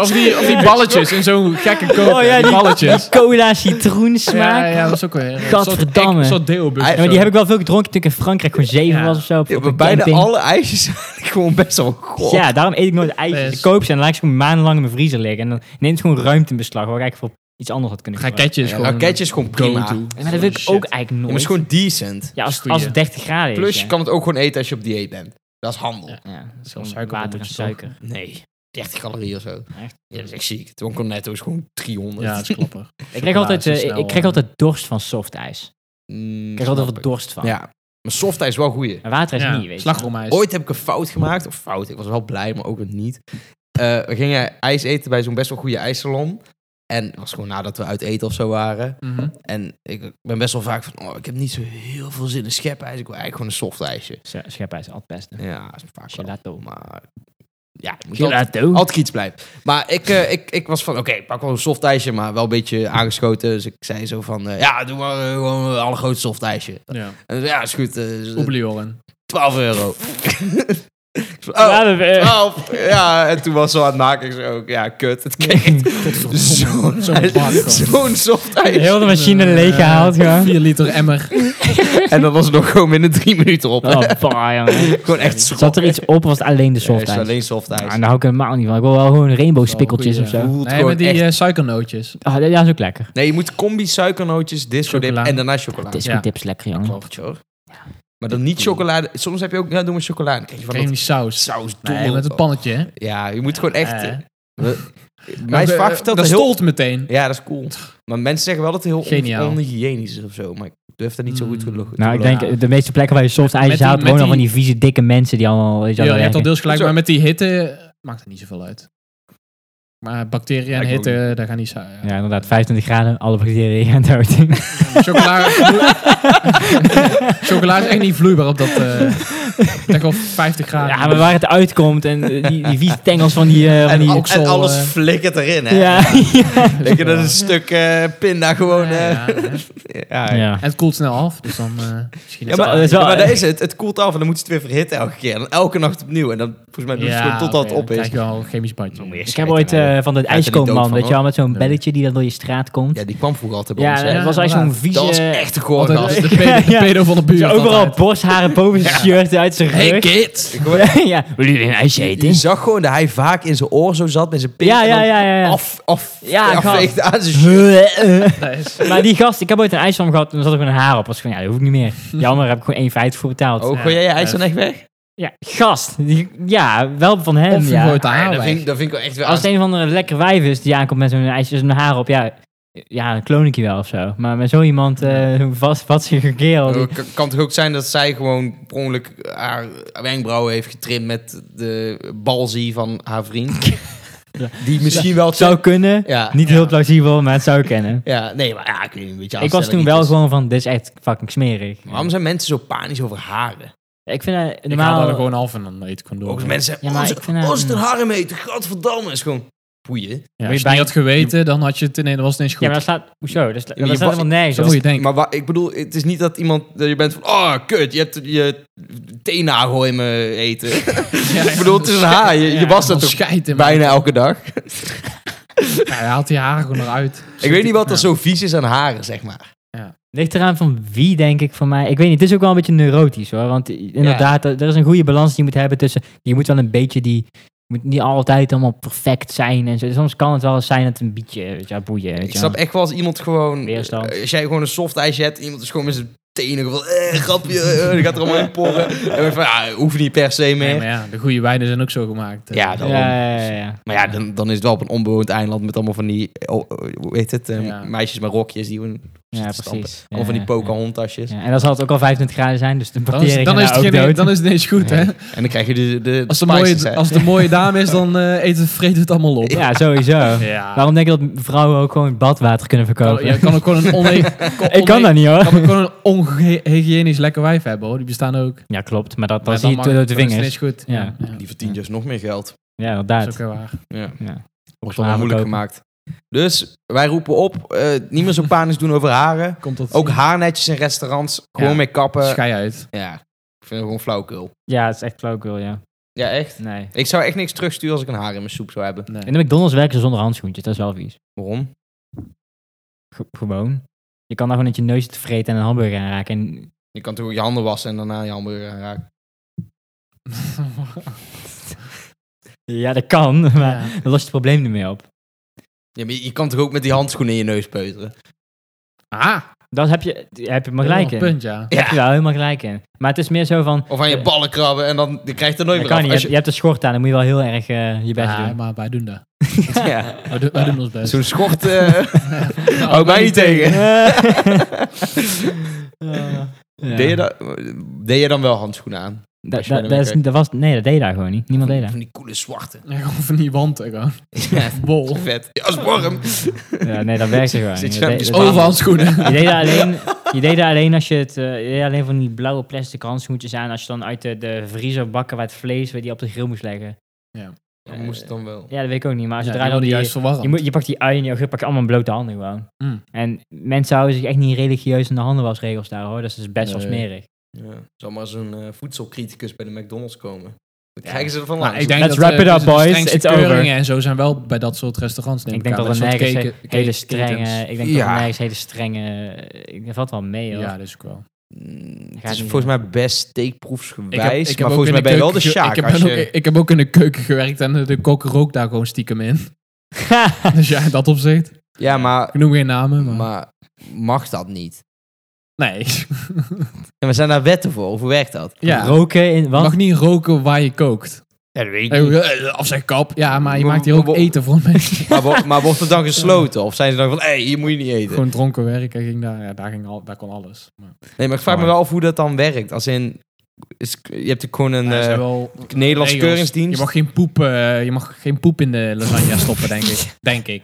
Of die, of die balletjes in zo'n gekke koop. Oh ja, die, die- balletjes. Cola citroensmaak. Ja, Ja, ja, dat is ook weer. een soort- Gadverdamme. Ah, Een soort deelbus. of maar zo. die heb ik wel veel gedronken toen ik in Frankrijk gewoon zeven Ja. was of zo. op- Ja, op maar een bijna camping. alle ijsjes zijn gewoon best wel goor. Ja, daarom eet ik nooit ijsjes. Best. Ik koop ze en dan laat ik ze gewoon maandenlang in mijn vriezer liggen. En dan neemt het gewoon ruimte in beslag, waar ik voor iets anders had kunnen gebruiken. Raketjes. Ja, gewoon raketje is gewoon go-to. prima. Ja, nou, Ja, maar dat wil ik Shit. ook eigenlijk maar nooit. het is gewoon decent. ja, als, Goeie. als het 30 graden is. Plus, je ja. kan het ook gewoon eten als je op dieet bent. Dat is handel. Ja. Ja, dat Zo'n is gewoon suikerbommertje water en toch? suiker. Nee, 30 calorieën of zo. Echt? Ja, dat is echt ziek. Toen kon netto is gewoon 300. Ja, dat is klapper. Ik krijg, altijd, zo eh, snel, ik krijg eh. altijd dorst van softijs. Mm, Ik krijg altijd snap wat dorst van. Ja, maar softijs is wel goeie. Maar water is Ja, niet, weet je. slagroomijs. Ooit heb ik een fout gemaakt. Of fout, ik was wel blij, maar ook weer niet. Eh, we gingen ijs eten bij zo'n best wel goede ijssalon. En het was gewoon nadat we uit eten of zo waren. Mhm. En ik ben best wel vaak van, oh, ik heb niet zo heel veel zin in schepijs. Ik wil eigenlijk gewoon een softijsje. Sch- Schepijs is altijd het beste. Ja, dat is vaak wel. Gelato. Maar ja, het moet altijd, Gelato. altijd iets blijven. Maar ik, eh, ik, ik was van, oké, ik pak wel een soft ijsje, maar wel een beetje aangeschoten. Dus ik zei zo van, eh, ja, doe maar eh, gewoon een allergrootste soft ijsje. Ja. En ze zei, ja, is goed. eh, is, eh, Oeblioren. 12 euro. Ik zo, Ja, oh, dat, eh, 12. Ja, en toen was ze aan het maken. Ik zei ook, ja, kut. Het kreeg zo'n Zo'n bak, zo'n gewoon. soft ijs. heel de machine Eh, leeggehaald, gewoon. 4 liter emmer. En dat was het nog gewoon binnen drie minuten op. Oh, bah, jongen. Gewoon echt schrokken. Zat er iets op, was het alleen de Nee, het softijs? is alleen soft Nou, ijs. daar hou ik helemaal niet van. Ik wil wel gewoon rainbowspikkeltjes Wel of een goeie, zo. Voelt Nee, gewoon met die echt- eh, suikernootjes. Ah, ja, is ook lekker. Nee, je moet combi suikernootjes, disco dip Chocolade. en daarna chocolade. Het is Ja. dips lekker, jongen. Klopt, hoor. Maar dan niet chocolade. Soms heb je ook, ja, doe maar chocolade. Dan krijg je van Kreeg dat die saus. saus Nee, dommel. met het pannetje, hè. Ja, je moet gewoon echt... Eh. We- Mij is vaak verteld... Dat heel- stolt meteen. Ja, dat is cool. Maar mensen zeggen wel dat het heel Geniaal. on- onhygiënisch is of zo. Maar ik durf dat niet zo goed Mm. geloven. Nou, ik Ja. denk eh, de meeste plekken waar je soft Met ijsjes die- haalt, met wonen al die- van die vieze, dikke mensen die allemaal... Weet je, Ja, wel, je hebt al werken. deels gelijk, Zo. maar met die hitte eh, maakt het niet zoveel uit. Maar bacteriën en Lijkt me ook hitte, daar gaan niet zo. Ja. ja, inderdaad. 25 graden, alle bacteriën gaan dood. Chocola, chocola is echt niet vloeibaar op dat. eh ik denk wel 50 graden. Ja, maar waar het uitkomt en eh, die, die vieze tengels van die... eh, van en, die al- oksel, en alles eh, flikkert erin, hè? ja. Denk je dat een stuk eh, pinda gewoon... eh, Ja, Ja, ja. ja. ja. En het koelt snel af, dus dan eh misschien. Ja, is maar, dat is wel- ja, maar dat is het. Het koelt af en dan moet je het weer verhitten elke keer. En dan elke nacht opnieuw. En dan volgens mij doet het gewoon totdat het oké, dus op dan is. krijg je wel een chemisch bandje. Ik heb ooit eh, er niet van dat dood ijskoopman, van, weet je hoor. wel, met zo'n Ja. belletje die dan door je straat komt. Ja, die kwam vroeger altijd bij Ja, ons. hè? dat was eigenlijk zo'n vieze... dat was echt een goor Altijd als gast. de pedo, de Ja. pedo van de Zo buurt. overal altijd. borstharen boven zijn shirt uit zijn rug. Hey kid! ja, willen jullie een ijsje Je eten? zag gewoon dat hij vaak in zijn oor zo zat met zijn pink. Ja, en ja, dan ja, ja. ja. Af, af, Ja, afveegde aan zijn shirt. Eh, eh. Dat is- maar die gast, ik heb ooit een ijsvorm gehad en er zat ook een haar op. Was gewoon, ja, dat hoef ik niet meer. Jammer, daar heb ik gewoon 1,50 voor betaald. Oh, Ja. gooi jij je ijs dan echt weg? Ja, gast. Die, ja, wel van hem. Of je ja. gooit de haar dat, weg. vind, dat vind ik wel echt weer Als het een van de lekkere wijf is die aankomt met zo'n ijsje, zijn haar op, ja. ja, dan kloon ik je wel of zo. Maar met zo iemand, eh vast, vatsige kerel, die- Het kan- kan toch ook zijn dat zij gewoon per ongeluk haar wenkbrauwen heeft getrimd met de balzie van haar vriend. Ja. Die misschien wel... zou kunnen. Ja, Niet Ja. heel plausibel, maar het zou kunnen. ja, nee, maar ja, ik weet niet, dus. een beetje ik was toen aanstelleriek wel is. gewoon van, dit is echt fucking smerig. Waarom zijn mensen zo panisch over haren? Ik vind dat Ik haal normaal... daar gewoon af en dan eet ik condoom. Ook als mensen Ja, zeggen, maar oh, ik vind, eh, ze- oh, ze het haren mee, godverdamme. is gewoon, boeien. Ja, Moet als je je het bij- niet had geweten, dan had je het... Nee, dat was niet eens Ja, maar goed. dat staat... Hoezo? Dat, sla- Ja, maar dat je staat was- helemaal nergens. Zo moet je denken. Maar wa- ik bedoel, het is niet dat iemand, dat je bent van, oh, kut, je hebt je teennagel in me eten. ik bedoel, het is een haar, je, je Ja, was dat Dan toch scheidt in bijna elke dag? Ja, hij haalt die haren gewoon eruit. Ik weet niet wat er Ja. zo vies is aan haren, zeg maar. Ligt eraan van wie, denk ik, van mij. Ik weet niet, het is ook wel een beetje neurotisch, hoor. Want i- inderdaad, er er is een goede balans die je moet hebben tussen... Je moet wel een beetje die... Je moet niet altijd allemaal perfect zijn en zo. Dus Soms kan het wel eens zijn dat een beetje, weet je, wel, boeien, weet je Ik snap wel. echt wel als iemand gewoon, Weerstand. eh, als jij gewoon een soft ijsje hebt, iemand is gewoon met zijn tenen van, eh, grapje, eh, die gaat er allemaal in porren. En dan van, ja, hoeft niet per se Nee, meer. maar ja, de goede wijnen zijn ook zo gemaakt. Ja, Eh, dat- echt daarom. Ja, ja, ja, ja. Maar ja, dan, dan is het wel op een onbewoond eiland met allemaal van die, eh, oh, eh, hoe heet het, eh, Ja. meisjes met rokjes die gewoon Ja, zitten te stampen. precies. Allemaal van die Ja, ja. pokerhondtasjes. Ja, en dan zal het ook al 25 graden zijn, dus de dan is, bacteriën dan, is gaan het ook geen, dood. dan is het niet eens goed, hè? En dan krijg je de, de Als de, de spices, mooie, hè? als de mooie dame is, dan eh eten, vreten we het allemaal op. Ja, sowieso. Ja. Waarom denk je dat vrouwen ook gewoon badwater kunnen verkopen? Je kan ook gewoon een one- kon- ik kan one- dat niet hoor. kan ook gewoon een onhygiënisch lekker wijf hebben, hoor. Die bestaan ook. Ja, klopt. Maar dat, dat Maar zie je mag- door de dan is het vingers. niet eens goed. Ja. Die verdient Ja. dus nog meer geld. Ja, Dat is inderdaad. ook wel waar. Ja. Ja. Wordt maar allemaal moeilijk verkopen. gemaakt. Dus wij roepen op, eh, niet meer zo panisch doen over haren. Komt dat Ook haarnetjes in restaurants, gewoon Ja. mee kappen. Schei uit. ja, ik vind het gewoon flauwkul. Ja, het is echt flauwkul, ja. Ja, echt. Nee. Ik zou echt niks terugsturen als ik een haar in mijn soep zou hebben. Nee. In de McDonald's werken ze zonder handschoentjes, dat is wel vies. Waarom? Ge- gewoon. Je kan daar gewoon met je neus te vreten en een hamburger aanraken. En... Je kan toch ook je handen eh, wassen en daarna je hamburger aanraken. Ja, dat kan, maar Ja. dan los je het probleem niet mee op. Ja, maar je je kan toch ook met die handschoenen in je neus peuteren? Ah, Daar heb je, heb je maar gelijk in. een punt, ja. Daar heb je wel helemaal gelijk in. Maar het is meer zo van... Of aan je Ja. ballen krabben en dan je krijgt er nooit Dat meer kan niet. af. Als Je, hebt- je hebt een schort aan, dan moet je wel heel erg eh, je best Ja, doen. maar wij doen dat. Ja. Wij doen, wij doen ons best. Zo'n schort eh houdt mij niet tegen. Deed, je dat, deed je dan wel handschoenen aan? Dat, Als je bij dat, de dat is, werk- dat was, nee, dat deed daar gewoon niet. Niemand deed Van dat. die coole zwarte. Ja, gewoon van die wanden gewoon. Ja, Bol. vet. Ja, is warm. Ja, nee, dat werkte gewoon. Zit niet. je Dat hem dus deed- dat deed- over- Overhandschoenen. je deed dat alleen, je deed dat alleen als je het, eh, je deed alleen van die blauwe plastic handschoentjes aan, als je dan uit de, de vriezer bakken waar het vlees weer die op de grill moest leggen. Dat moest het dan wel. Ja, dat weet ik ook niet, maar als je Ja, draait die worden dan die, juist verwarrend. je, moet, je pakt die ui en die ogurk, pak je allemaal in blote handen gewoon. Mm. En mensen houden zich echt niet religieus aan de handenwasregels daar hoor, dat is dus best wel Nee. smerig. Ja. Zal maar zo'n eh, voedselcriticus bij de McDonald's komen. Dan krijgen ze er van Nou, langs. ik denk Let's dat wrap eh, it de- up, de boys. strengste It's over. keuringen en zo zijn wel bij dat soort restaurants. neem Ik denk aan. dat er soort nergens he- keken- hele keken- strenge, ketens. ik denk dat er Ja. nergens hele strenge, eh, dat valt wel mee hoor. Ja, dat is ook wel. Mm, Gaat het is niet volgens mij best Ik heb- steekproefsgewijs, ik heb maar ook volgens mij in ben je wel de keuken ge- Sjaak. Ik als heb, ook, je- ik heb ook in de keuken gewerkt en de kok rookt daar gewoon stiekem in. Dus ja, in dat opzicht. Ja, maar, Ik noem geen namen, maar... maar mag dat niet? nee. En we zijn daar wetten voor, of hoe werkt dat? ja. Roken in Je wat? mag niet roken waar je kookt. Ja, dat weet Eh, Afzegkap. Ja, maar je Wo- maakt hier wo- ook wo- eten voor mensen. maar, wo- maar wordt het dan gesloten? Of zijn ze dan van, hé, hey, hier moet je niet eten? Gewoon dronken werken ging daar. Ja, daar, ging al, daar kon alles. Maar, Nee, maar ik vraag me wel af hoe dat dan werkt. Als in, is, je hebt ook gewoon een... Ja, er eh, zijn wel Nederlands regels. keuringsdienst. Je mag geen poep, eh, je mag geen poep in de lasagne stoppen, denk ik. Denk ik.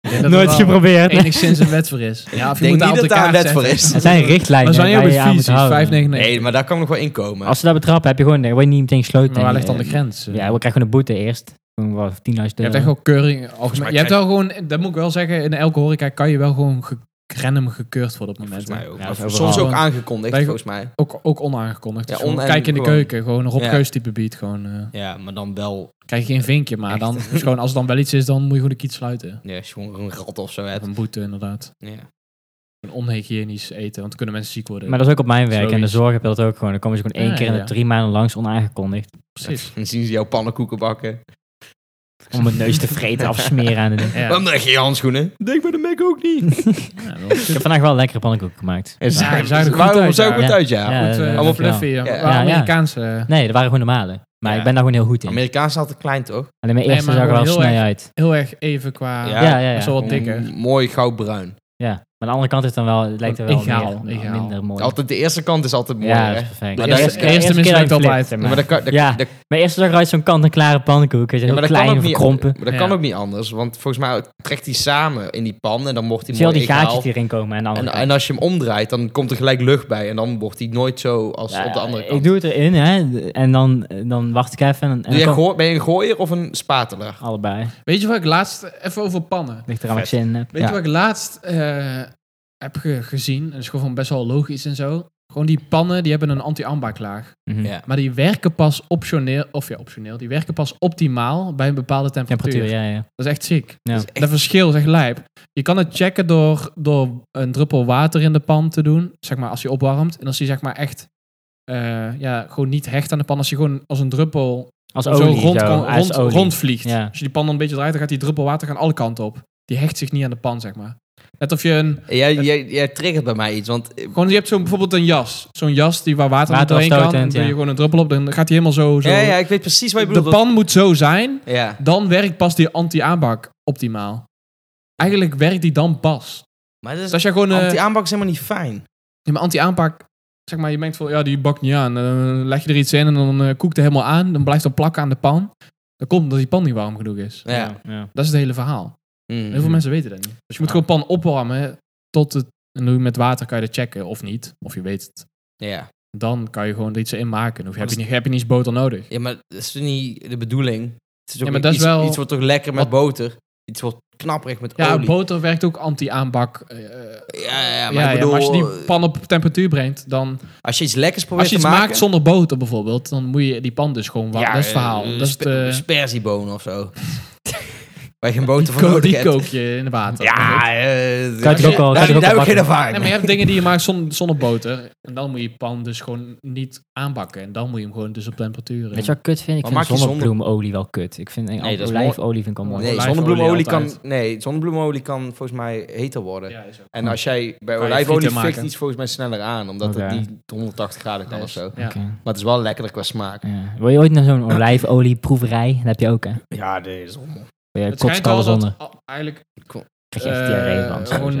Ik denk dat er Nooit wel geprobeerd. Enigszins een wet voor is. Ja, of je denk moet niet op dat de daar een kaart wet voor zetten. is. Er zijn richtlijnen Lasagne waar over je aan moet houden. fysisch, 5,99. Nee, maar daar kan nog wel inkomen. Als ze dat betrappen, heb je gewoon, dan word je niet meteen gesloten. Maar waar ligt dan Eh, de grens? Ja, eh, we krijgen gewoon een boete eerst. Gewoon wel 10.000 euro. Je hebt echt wel keuring. Algemeen. mij Je hebt wel gewoon, dat moet ik wel zeggen, in elke horeca kan je wel gewoon ge random gekeurd worden op het moment. volgens mij hè. ook. Ja, dat is Maar overal. soms ook aangekondigd, Wij- volgens mij. Ook, ook onaangekondigd. Ja, Dus gewoon on- en kijk in de gewoon- keuken, gewoon een Rob Ja. Geus type beat. Gewoon, eh, Ja, maar dan wel, krijg je geen vinkje, maar Echt. dan, dus gewoon, als er dan wel iets is, dan moet je gewoon de kiet sluiten. ja, als je gewoon een rat of zo hebt. Een boete inderdaad. Ja. Een onhygiënisch eten, want dan kunnen mensen ziek worden. Maar dat is ook op mijn werk. En de Logisch. zorg heb je dat ook gewoon. Dan komen ze gewoon één Ja, keer in ja, de ja. drie maanden langs onaangekondigd. Precies. Dan zien ze jouw pannenkoeken bakken. Om mijn neus te vreten, afsmeren aan de ding. Ja. Waarom draag je je handschoenen? Denk bij de Mac ook niet. Ja, wel Ik heb vandaag wel lekkere pannenkoeken gemaakt. En ze- ze ze zagen er goed waarom uit, zo ja. goed uit, ja. Ja. goed, eh, dankjewel. allemaal fluffy. eh, Ja. maar Ja, ja. Amerikaanse. Nee, dat waren gewoon normale. Maar Ja. ik ben daar gewoon heel goed in. Amerikaans is altijd klein, toch? Alleen mijn Nee, eerste maar zag er wel gewoon heel snel uit. Heel erg even qua... Ja. Ja, ja, ja. Zo wat dikker. M- Mooi goudbruin. Ja. Maar aan de andere kant is het dan wel, het lijkt er wel Egaal, meer, egaal. minder mooi. Altijd de eerste kant is altijd mooi, ja, dat hè? is perfect. Maar de daar eerste, is- eerste, eerste keer mislukt dat ik altijd. flipte, Maar dat kan, dat, Ja, dat- Mijn eerste zag eruit zo'n kant-en-klare pannenkoek. Weet je, ja, heel maar dat kan klein ook en niet, verkrompen. maar dat Ja. kan ook niet anders. Want volgens mij trekt hij samen in die pan en dan wordt hij Ik zie al mooi die egaal. gaatjes die erin komen. En de Oh, andere En, kant. en als je hem omdraait, dan komt er gelijk lucht bij. En dan wordt hij nooit zo als Ja, op de andere Ik kant. doe het erin, hè. En dan, dan wacht ik even. En, en Doe jij dan kom- gooi- ben je een gooier of een spatelaar? Allebei. Weet je wat ik laatst... Even over pannen. Ligt eraan wat ik Vet. zin in heb. Weet Ja. je wat ik laatst eh, heb ge- gezien? En dat is gewoon van best wel logisch en zo. Gewoon die pannen, die hebben een anti-ambaklaag. Mhm. Ja. Maar die werken pas optioneel, of ja, optioneel. Die werken pas optimaal bij een bepaalde temperatuur. Temperatuur, ja, ja. Dat is echt ziek. Ja. Dat is echt- Dat verschil is echt lijp. Je kan het checken door, door een druppel water in de pan te doen. Zeg maar als je opwarmt. En als die zeg maar echt eh, ja, gewoon niet hecht aan de pan. Als je gewoon als een druppel Als zo olie. rond, kan- als rond, olie. rondvliegt. Ja. Als je die pan dan een beetje draait, dan gaat die druppel water gaan alle kanten op. Die hecht zich niet aan de pan, zeg maar. Net of je een... Jij, jij, jij triggert bij mij iets, want eh, Gewoon, je hebt zo'n bijvoorbeeld een jas. Zo'n jas die waar water, Water doorheen kan. Dan afstotend, doe je ja. gewoon een druppel op. Dan gaat hij helemaal zo... zo ja, ja, ik weet precies wat je de bedoelt. pan moet zo zijn. want- Ja, Dan werkt pas die anti-aanbak optimaal. Eigenlijk werkt die dan pas. maar dat Dus is, als je gewoon... eh, anti-aanpak is helemaal niet fijn. Ja, maar anti-aanpak, zeg maar, je denkt van, ja, die bakt niet aan. Dan eh, leg je er iets in en dan eh, koekt het helemaal aan. Dan blijft dat plakken aan de pan. Dat komt omdat die pan niet warm genoeg is. Ja. ja. Dat is het hele verhaal. Mm. Heel veel mensen weten dat niet. Dus je moet gewoon pan opwarmen tot het... En dan met water kan je dat checken, of niet. Of je weet het. Ja. Dan kan je gewoon er iets in maken. Of heb je, niet, heb je niet eens boter nodig. ja, maar dat is toch niet de bedoeling. Het is ook Ja, maar dat is iets, wel- iets wordt toch lekker met Wat- boter? Iets wordt knapperig met Ja, olie. boter werkt ook anti-aanbak. eh, ja, ja, ja, maar ja, ik bedoel... maar als als, je die pan op temperatuur brengt, dan... je iets lekkers probeert Als je iets te maken... maakt zonder boter bijvoorbeeld, dan moet je die pan dus gewoon warm. Ja, dat is het eh, verhaal. dat is spe- het, eh, Sperziebonen of zo. Waar je geen boter van Ko- nodig die hebt. kook je in water. Ja, eh, Kan je toch ook wel- daar, kan je toch ook daar heb wel ik geen bakken? ervaring Nee, maar je hebt dingen die je maakt zonder, zonder boter. En dan moet je pan dus gewoon niet aanbakken. En dan moet je hem gewoon dus op temperatuur. Weet je wat ik kut vind? Ik Maar vind maak je zonne- zonnebloemolie wel kut. Ik vind Nee, dat is olijfolie vind ik al mooi. Nee, Olijfolie zonnebloemolie kan, altijd. nee, zonnebloemolie kan volgens mij heter worden. Ja, is ook. En als jij bij je olijfolie frieten maken. fikt iets volgens mij sneller aan, omdat Oké. het niet 180 graden kan of zo. Ja. Oké. Maar het is wel lekkerder qua smaak. Ja. Wil je ooit naar zo'n olijfolieproeverij? Dat heb je ook, hè? Ja, dit is on- Wil je Het schijnt wel kotskallen dat zonder? al- eigenlijk Krijg je echt eh, diarree van. gewoon sowieso.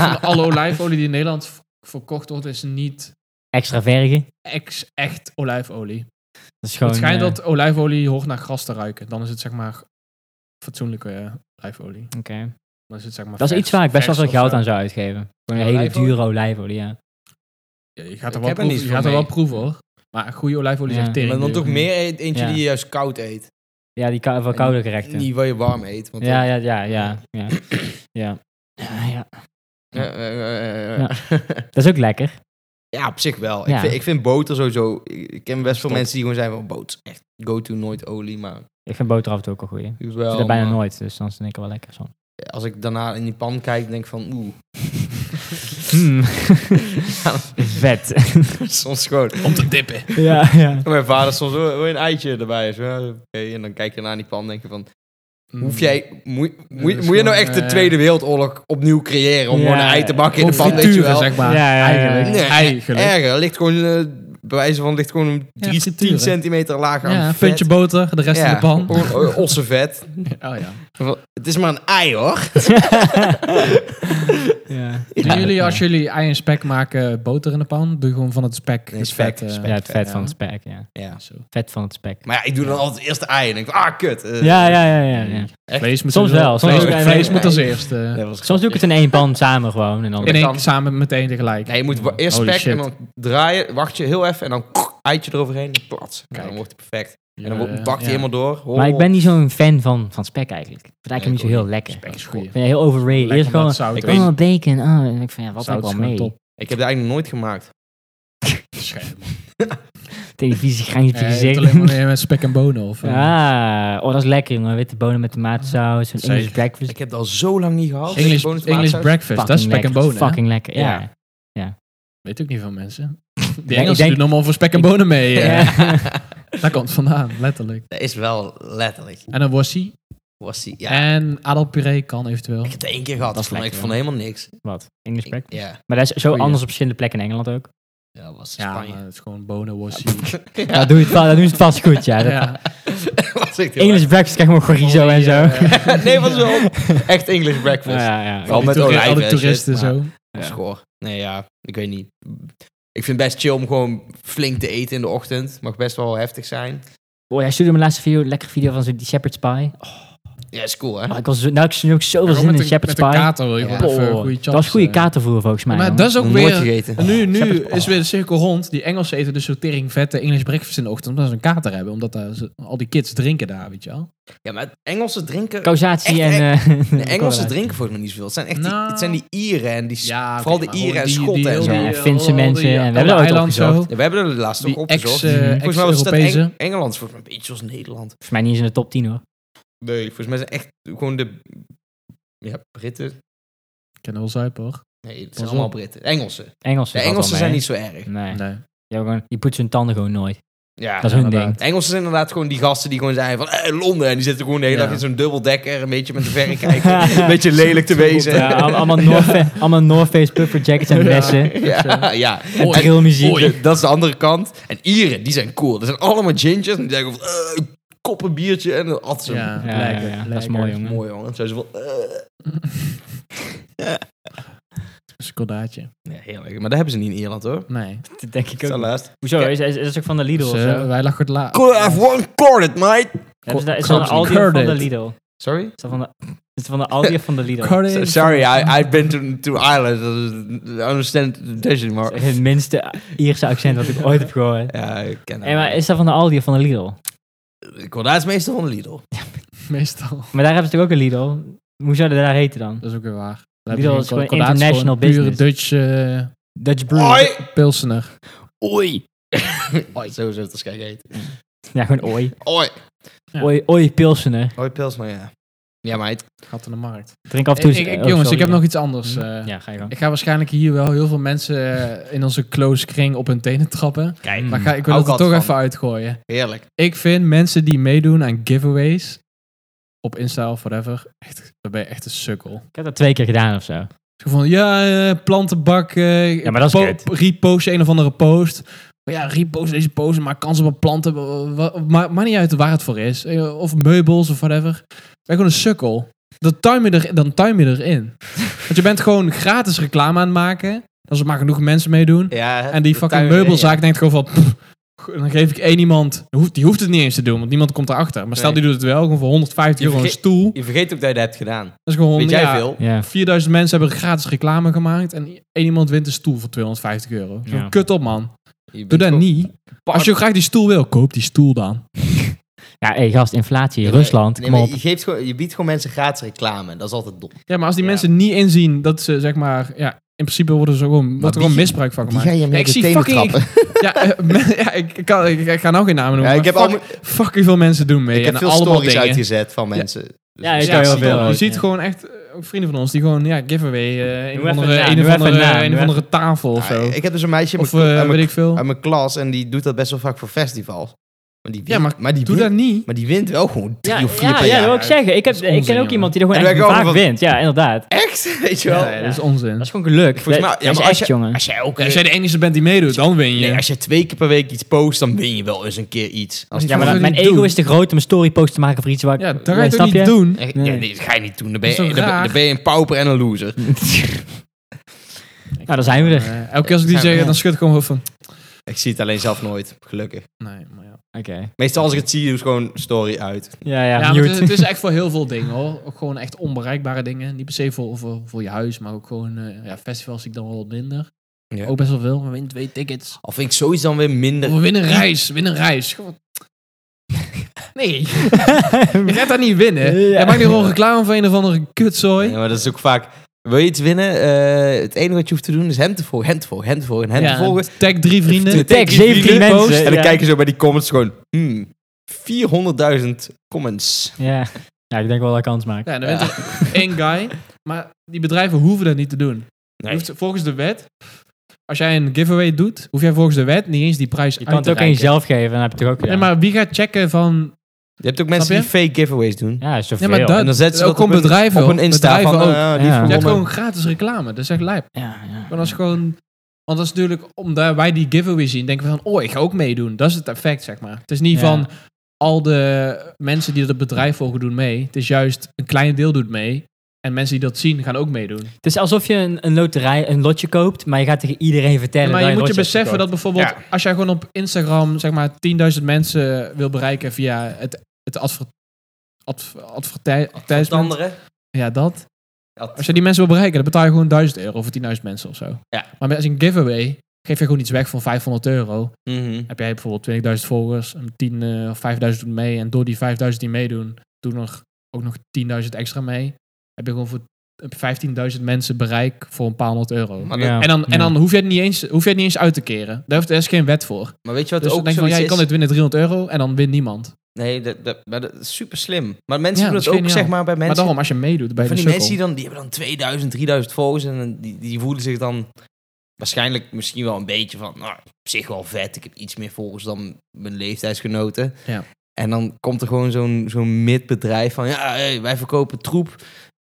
van alle olijfolie die in Nederland v- verkocht wordt, is niet Extra vergen. ex, echt olijfolie. Dat is gewoon... het schijnt eh, dat olijfolie hoort naar gras te ruiken. Dan is het zeg maar fatsoenlijke eh, olijfolie. oké. Dan is het zeg maar Dat is vers- iets waar ik best wel vers veel of geld zo. aan zou uitgeven. Gewoon een hele Olijfolie? dure olijfolie, ja. Ja, je gaat er Ik heb wel er niet proeven, je veel gaat er mee. wel proeven hoor. Maar een goede olijfolie is Ja. echt tering. Maar dan duur. toch meer eet- eentje Ja. die je juist koud eet. Ja, die kou- van koude gerechten. Niet wat je warm eet. Want Ja, dan- ja, ja, ja. Ja. ja. ja. ja. Eh, eh, eh, eh, eh. Dat is ook lekker. Ja, op zich wel. Ja. Ik, vind, ik vind boter sowieso... Ik ken best veel Top. mensen die gewoon zijn van boter. is Echt go-to, nooit olie, maar... Ik vind boter af en toe ook een goeie. Ik doe het doe wel, dat bijna maar nooit, dus dan is het in één keer wel lekker soms. Als ik daarna in die pan kijk, denk ik van... Oeh. Hmm. Vet. soms gewoon... Om te dippen. ja, ja. Mijn vader soms wil wil je een eitje erbij. is. Ja, oké. En dan kijk je naar die pan en denk je van... Hoef jij, moet, moet, dus moet je nou gewoon, echt de eh, Tweede Wereldoorlog opnieuw creëren om Ja, gewoon een ei te bakken in de pan, weet je frituren, wel? zeg maar. Ja, ja, ja. Eigenlijk. Nee, Eigenlijk. Erger, ligt gewoon, eh, bij wijze van, ligt gewoon een Ja, drie- frituren. 10 centimeter lager aan Ja, een vet. puntje boter, de rest in Ja, de pan. Oh gewoon, eh, ossenvet. ja. Het is maar een ei, hoor. ja. Doen jullie, als jullie ei en spek maken, boter in de pan? Doe je gewoon van het spek. Nee, het spek, vet, eh, spek. Ja, het vet Ja. van het spek, ja. Ja. Zo. Vet van het spek. Maar ja, ik doe dan altijd eerst de ei en denk van, ah, kut. eh. Ja, ja, ja, ja. ja. Echt? Vlees moet Soms er- wel, soms vlees, ook. vlees Ja. moet als eerst. eh, Dat was- Soms doe ik het in één pan samen gewoon. En dan, in dat één kan. keer samen meteen tegelijk. Nee, je moet wa- eerst Holy spek shit. en dan draaien, wacht je heel even en dan eitje eroverheen en plats. Ja, Kijk. dan wordt het perfect. En Ja, dan wordt- ja, bakt hij Eh, ja. helemaal door. Oh, Hol, maar ik hol. ben niet zo'n fan van, van spek eigenlijk. Ik vind eigenlijk Nee, niet zo ik ook heel lekker. Spek is Ik goed. vind het heel overrated. Lekker Eerst omdat gewoon, het zout Ik is. weet- oh, bacon. Oh, en ik vind, ja, wat Zout ook wel is gewoon mee. top. Ik heb het eigenlijk nooit gemaakt. Televisie, grijns op je Eh, gezicht. alleen maar eh, met spek en bonen. Of, eh, Ah, oh, dat is lekker, jongen. Witte bonen met tomatensaus, een Zeker. English breakfast. Ik heb het al zo lang niet gehad. eh, English, Bonus English tomatensaus. breakfast, dat is spek en lekker, bonen. hè? Fucking lekker, ja. Ja. Weet ook niet van mensen. ik Die Engelsen denk- doen allemaal voor spek en bonen mee. eh. Ja. Daar komt het vandaan, letterlijk. Dat is wel letterlijk. En een worsie. Was die, ja. En aardappelpuree kan eventueel. Ik heb het één keer gehad. Dat is ik vond- ik lekker, vond helemaal niks. Wat? English Ik- breakfast? ja. Maar dat is zo Goeie. anders op verschillende plekken in Engeland ook. Ja, dat was Ja, Spanje. maar het is gewoon bonen washi. Ja, doe je het, va- dan doen ze het vast goed, ja. Dat, ja. was echt heel English breakfast krijg je gewoon chorizo en zo. erg. nee, was wel echt English breakfast. Ja, ja, Wel ja. Al met die toeri- al olijven die en toeristen shit, maar- zo. Dat is Ja. goor. Nee, ja, ik weet niet. Ik vind het best chill om gewoon flink te eten in de ochtend. Mag best wel heftig zijn. Oh, jij stuurde mijn laatste video, lekkere video van zo die shepherd's pie. Oh, Ja, is cool, hè? ik was zo, nou, ik zie ook zoveel Gewoon zin in met een een, met shepherd's een pie. kater wil je Ja. gewoon even Oh, goede eh. dat was goede katervoer volgens mij. Maar man. dat is ook Nog Nooit weer... gegeten. En nu nu shepherd's is pie. weer de cirkel rond. Die Engelsen eten dus sortering vetten English breakfast in de ochtend. Omdat ze een kater hebben. Omdat daar ze- al die kids drinken daar, weet je wel. Ja, maar Engelsen drinken... Causatie Echt, en... eh, De Engelsen correlatie. drinken volgens mij niet zoveel. Het zijn echt die, Nou. het zijn die Ieren en die... s- Ja, oké, vooral maar de gewoon Ieren en die- Schotten die- en zo. Ja, die- Finse al die- mensen en we al hebben die dat ooit eiland opgezocht. zo. Ja, we hebben er laatst ook Die ex, opgezocht. eh, volgens mij was dat Eng- ex-Europezen. Engeland. Volgens mij een beetje zoals Nederland. Volgens mij niet eens in de top 10 hoor. Nee, volgens mij zijn echt gewoon de... Ja, Britten. Ik ken wel zuipen hoor. Nee, het Pas zijn op. allemaal Britten. Engelsen. Engelsen. De valt wel Engelsen mee, zijn hè? niet zo erg. Nee. Nee. Die, hebben gewoon, die poetsen hun tanden gewoon nooit. Ja. dat is hun inderdaad. ding. De Engelsen zijn inderdaad gewoon die gasten die gewoon zijn van eh, Londen. En die zitten gewoon de hele Ja. dag in zo'n dubbeldekker. Een beetje met de verrekijker. een beetje lelijk te wezen. Ja, al- allemaal, North, Fa- allemaal North Face puffer jackets en messen. Ja, ja. En En trillmuziek. de- dat is de andere kant. En Ieren, die zijn cool. Dat zijn allemaal gingers. En die zeggen van, eh, kop een biertje. En dan at ze hem. Ja, Ja, ja, lekker, ja, dat is lekker. mooi, jongen. Mooi, jongen. Dan zijn ze van... eh. Skordaatje. Ja, heerlijk. Maar dat hebben ze niet in Ierland, hoor. Nee. Dat denk ik Dat is ook. niet. laatst. Hoezo? Is, is, is dat ook van de Lidl Dus, of eh, zo? wij lachen het la. Could I have one corded, mate? Hebben ze daar- is Cur- dat van de Aldi of van de Curded. Lidl? Is Sorry? dat van de, is dat van de Aldi of van de Lidl? Cur- So- Sorry, I, I've been to, to Ireland. I understand the decision, Dat maar... is echt Het minste Ierse accent wat ik ooit heb gehoord. Ja, ik ken dat. Hey, maar is dat van de Aldi of van de Lidl? Kordaat is meestal van de Lidl. Meestal. Maar daar hebben ze natuurlijk ook een Lidl. Hoe zou dat daar heten dan? Dat is ook weer waar. heb je geen cor- cordaat, is gewoon Pure pure Dutch eh, Dutch Brew. Oi! pilsener. Oei! Oi. Zo zou het waarschijnlijk heten. Ja, gewoon oi. Oi! Ja. Oi, oi Pilsener. Hoi, Pilsner, ja. Ja, meid. Gaat in de markt. Drink af en toe... Ik- ik- oh, jongens, sorry. Mm, ik heb nog iets anders. eh. Ja, ga je gang. Ik ga waarschijnlijk hier wel heel veel mensen eh, in onze close kring op hun tenen trappen. Mm. Hmm. Kijk. Maar ga, ik wil Hou het er ik toch altijd even uitgooien. Heerlijk. Ik vind mensen die meedoen aan giveaways op Insta of whatever, echt, dan ben je echt een sukkel. Ik heb dat twee keer gedaan of zo. Zo van, ja, eh, plantenbak. eh, Ja, maar dat is po- kut. Repost je een of andere post. Maar ja, repost deze post, maak kans op een planten. wa- wa- ma- Maakt niet uit waar het voor is. Eh, Of meubels of whatever. Ben je gewoon een sukkel. Dan tuim, je er, dan tuim je erin. Want je bent gewoon gratis reclame aan het maken. Als er maar genoeg mensen meedoen. Ja, En die fucking meubelzaak denkt gewoon van... "Pff, dan geef ik één iemand... Die hoeft, die hoeft het niet eens te doen, want niemand komt erachter. Maar stel, Nee. die doet het wel. Gewoon voor 150 Je euro een vergeet- stoel. Je vergeet ook dat je dat hebt gedaan. Dat is gewoon... Weet jij ja, veel? Ja. 4000 mensen hebben gratis reclame gemaakt en één iemand wint een stoel voor 250 euro. Zo Ja. Kut op, man. Je Doe bent dat gewoon- niet. Als je graag die stoel wil, koop die stoel dan. Ja, hey, gast, inflatie, Nee, Rusland, nee, kom maar op. Je, geeft gewoon, je biedt gewoon mensen gratis reclame. Dat is altijd dom. Ja, maar als die Ja. mensen niet inzien dat ze, zeg maar, ja, in principe worden ze gewoon, wordt er wie- gewoon misbruik van gemaakt. je Ja, ik zie fucking. Ja, eh, men- ja ik, ik kan, ik, ik ga nou geen namen noemen. Ja, ik maar heb al fuck, fucking veel mensen doen mee. Ik heb en veel allemaal stories dingen. uitgezet van mensen. Dus Ja, ik zie ook je heel het ziet- veel. Je ziet Ja. gewoon echt eh, ook vrienden van ons die gewoon, ja, giveaway. eh, een Doe of even andere, na, een doe of even andere, na, een doe of andere tafel of Nou, zo. Ik heb dus een meisje uit Of mijn- eh, uit weet mijn- ik veel. uit mijn klas en die doet dat best wel vaak voor festivals. Maar die Ja, wint- maar die Doe wint- dat niet. maar die wint wel gewoon drie Ja, of vier ja, per ja, dat jaar. wil ik zeggen. Ik, heb, Dat is ik onzin, ken ook jongen. iemand die er En gewoon dan echt ben ik vaak ook van- wint. Ja, inderdaad. Echt? Weet je wel? Ja, dat is onzin. Dat is gewoon geluk. Volgens mij- dat ja, is maar als echt, je- jongen. Als jij ook... eh, Als jij de enige bent die meedoet, dan win je. Nee, als je twee keer per week iets post, dan win je wel eens een keer iets. Als Ja, maar Wat dan- wil je mijn ego doen? is te groot om een storypost te maken voor iets waar ik... ja, dat ga Ja, je toch snap niet je? doen? Echt, Nee. ja, nee, dat ga je niet doen. Dan ben je, Dat is dan, toch ben- raar? dan ben je een pauper en een loser. Nou, daar zijn we er. Eh, elke keer als ik die Ja, zeg, ja. dan schud ik gewoon hoofd van... Ik zie het alleen zelf nooit, gelukkig. Nee, maar ja. Oké. Meestal als ik het zie, doe ik gewoon story uit. Ja, ja, Ja, maar het, is, mute. het is echt voor heel veel dingen hoor. Ook gewoon echt onbereikbare dingen. Niet per se voor, voor, voor je huis, maar ook gewoon... eh, ja, festivals zie ik dan wel wat minder. Ja. Ook best wel veel. We winnen twee tickets. Al vind ik sowieso dan weer minder... Of we winnen een reis. Win een reis. Gewoon- Nee, je gaat dat niet winnen. Ja. Jij maakt nu gewoon reclame van een of andere kutzooi. Ja, maar dat is ook vaak... Wil je iets winnen? Eh, het enige wat je hoeft te doen is hem te volgen, hem te volgen, hem te volgen en hem te volgen. tag drie vrienden. Tag 17 vrienden, mensen, post. En dan ja. kijk je zo bij die comments gewoon... Hmm, 400.000 comments. Ja. ja, ik denk wel dat ik kans maak. Ja, dan wint er één guy. Maar die bedrijven hoeven dat niet te doen. Je Nee. hoeft volgens de wet, als jij een giveaway doet, hoef jij volgens de wet niet eens die prijs Je uit kan het te ook aan reiken. jezelf geven, dan heb je het toch ook Nee, gedaan. maar wie gaat checken van... Je hebt ook mensen Snap die je? fake giveaways doen. Ja, is zoveel. Nee, maar dat, En dan zetten ze Oh, ook dat gewoon op hun- bedrijven Op een Insta bedrijven van... ook. eh, die heeft Ja. Je hebt gewonnen. gewoon gratis reclame, dat is echt lijp. Ja, ja. Maar dat is gewoon Want dat is natuurlijk, omdat wij die giveaway zien, denken we van, oh, ik ga ook meedoen. Dat is het effect, zeg maar. Het is niet Ja. van al de mensen die dat bedrijf volgen doen mee. Het is juist een klein deel doet mee. En mensen die dat zien, gaan ook meedoen. Het is alsof je een, een loterij, een lotje koopt, maar je gaat tegen iedereen vertellen. maar dat je moet je lotje hebt beseffen dat bijvoorbeeld, Ja. als jij gewoon op Instagram, zeg maar, 10.000 mensen wil bereiken via het, het adver, adv- advertijsment. Anderen. Ja, dat. Ad- Als je die mensen wil bereiken, dan betaal je gewoon 1000 euro voor 10.000 mensen of zo. Ja. Maar met- als een giveaway geef je gewoon iets weg van 500 euro. Mhm. Heb jij bijvoorbeeld 20.000 volgers, en 10 eh, of 5.000 doen mee. En door die 5.000 die meedoen, doen er ook nog 10.000 extra mee. Heb je gewoon voor heb je 15.000 mensen bereik voor een paar honderd euro. Maar, Ja. dat- En dan, en Ja. dan hoef, je het niet eens, hoef je het niet eens uit te keren. Daar, heeft, daar is geen wet voor. maar weet je wat Dus dan ook denk je van, zoiets ja, je is? kan dit winnen 300 euro en dan wint niemand. Nee, dat, dat, maar dat is super slim. Maar mensen doen Ja, dat dat is ook, geniaal. zeg maar, bij Maar mensen. daarom, als je meedoet bij van de die sukkel. mensen die, dan, die hebben dan 2000, 3000 volgers en dan- die, die voelen zich dan waarschijnlijk misschien wel een beetje van, nou, op zich wel vet. Ik heb iets meer volgers dan mijn leeftijdsgenoten. Ja. En dan komt er gewoon zo'n zo'n midbedrijf van, ja, hey, wij verkopen troep.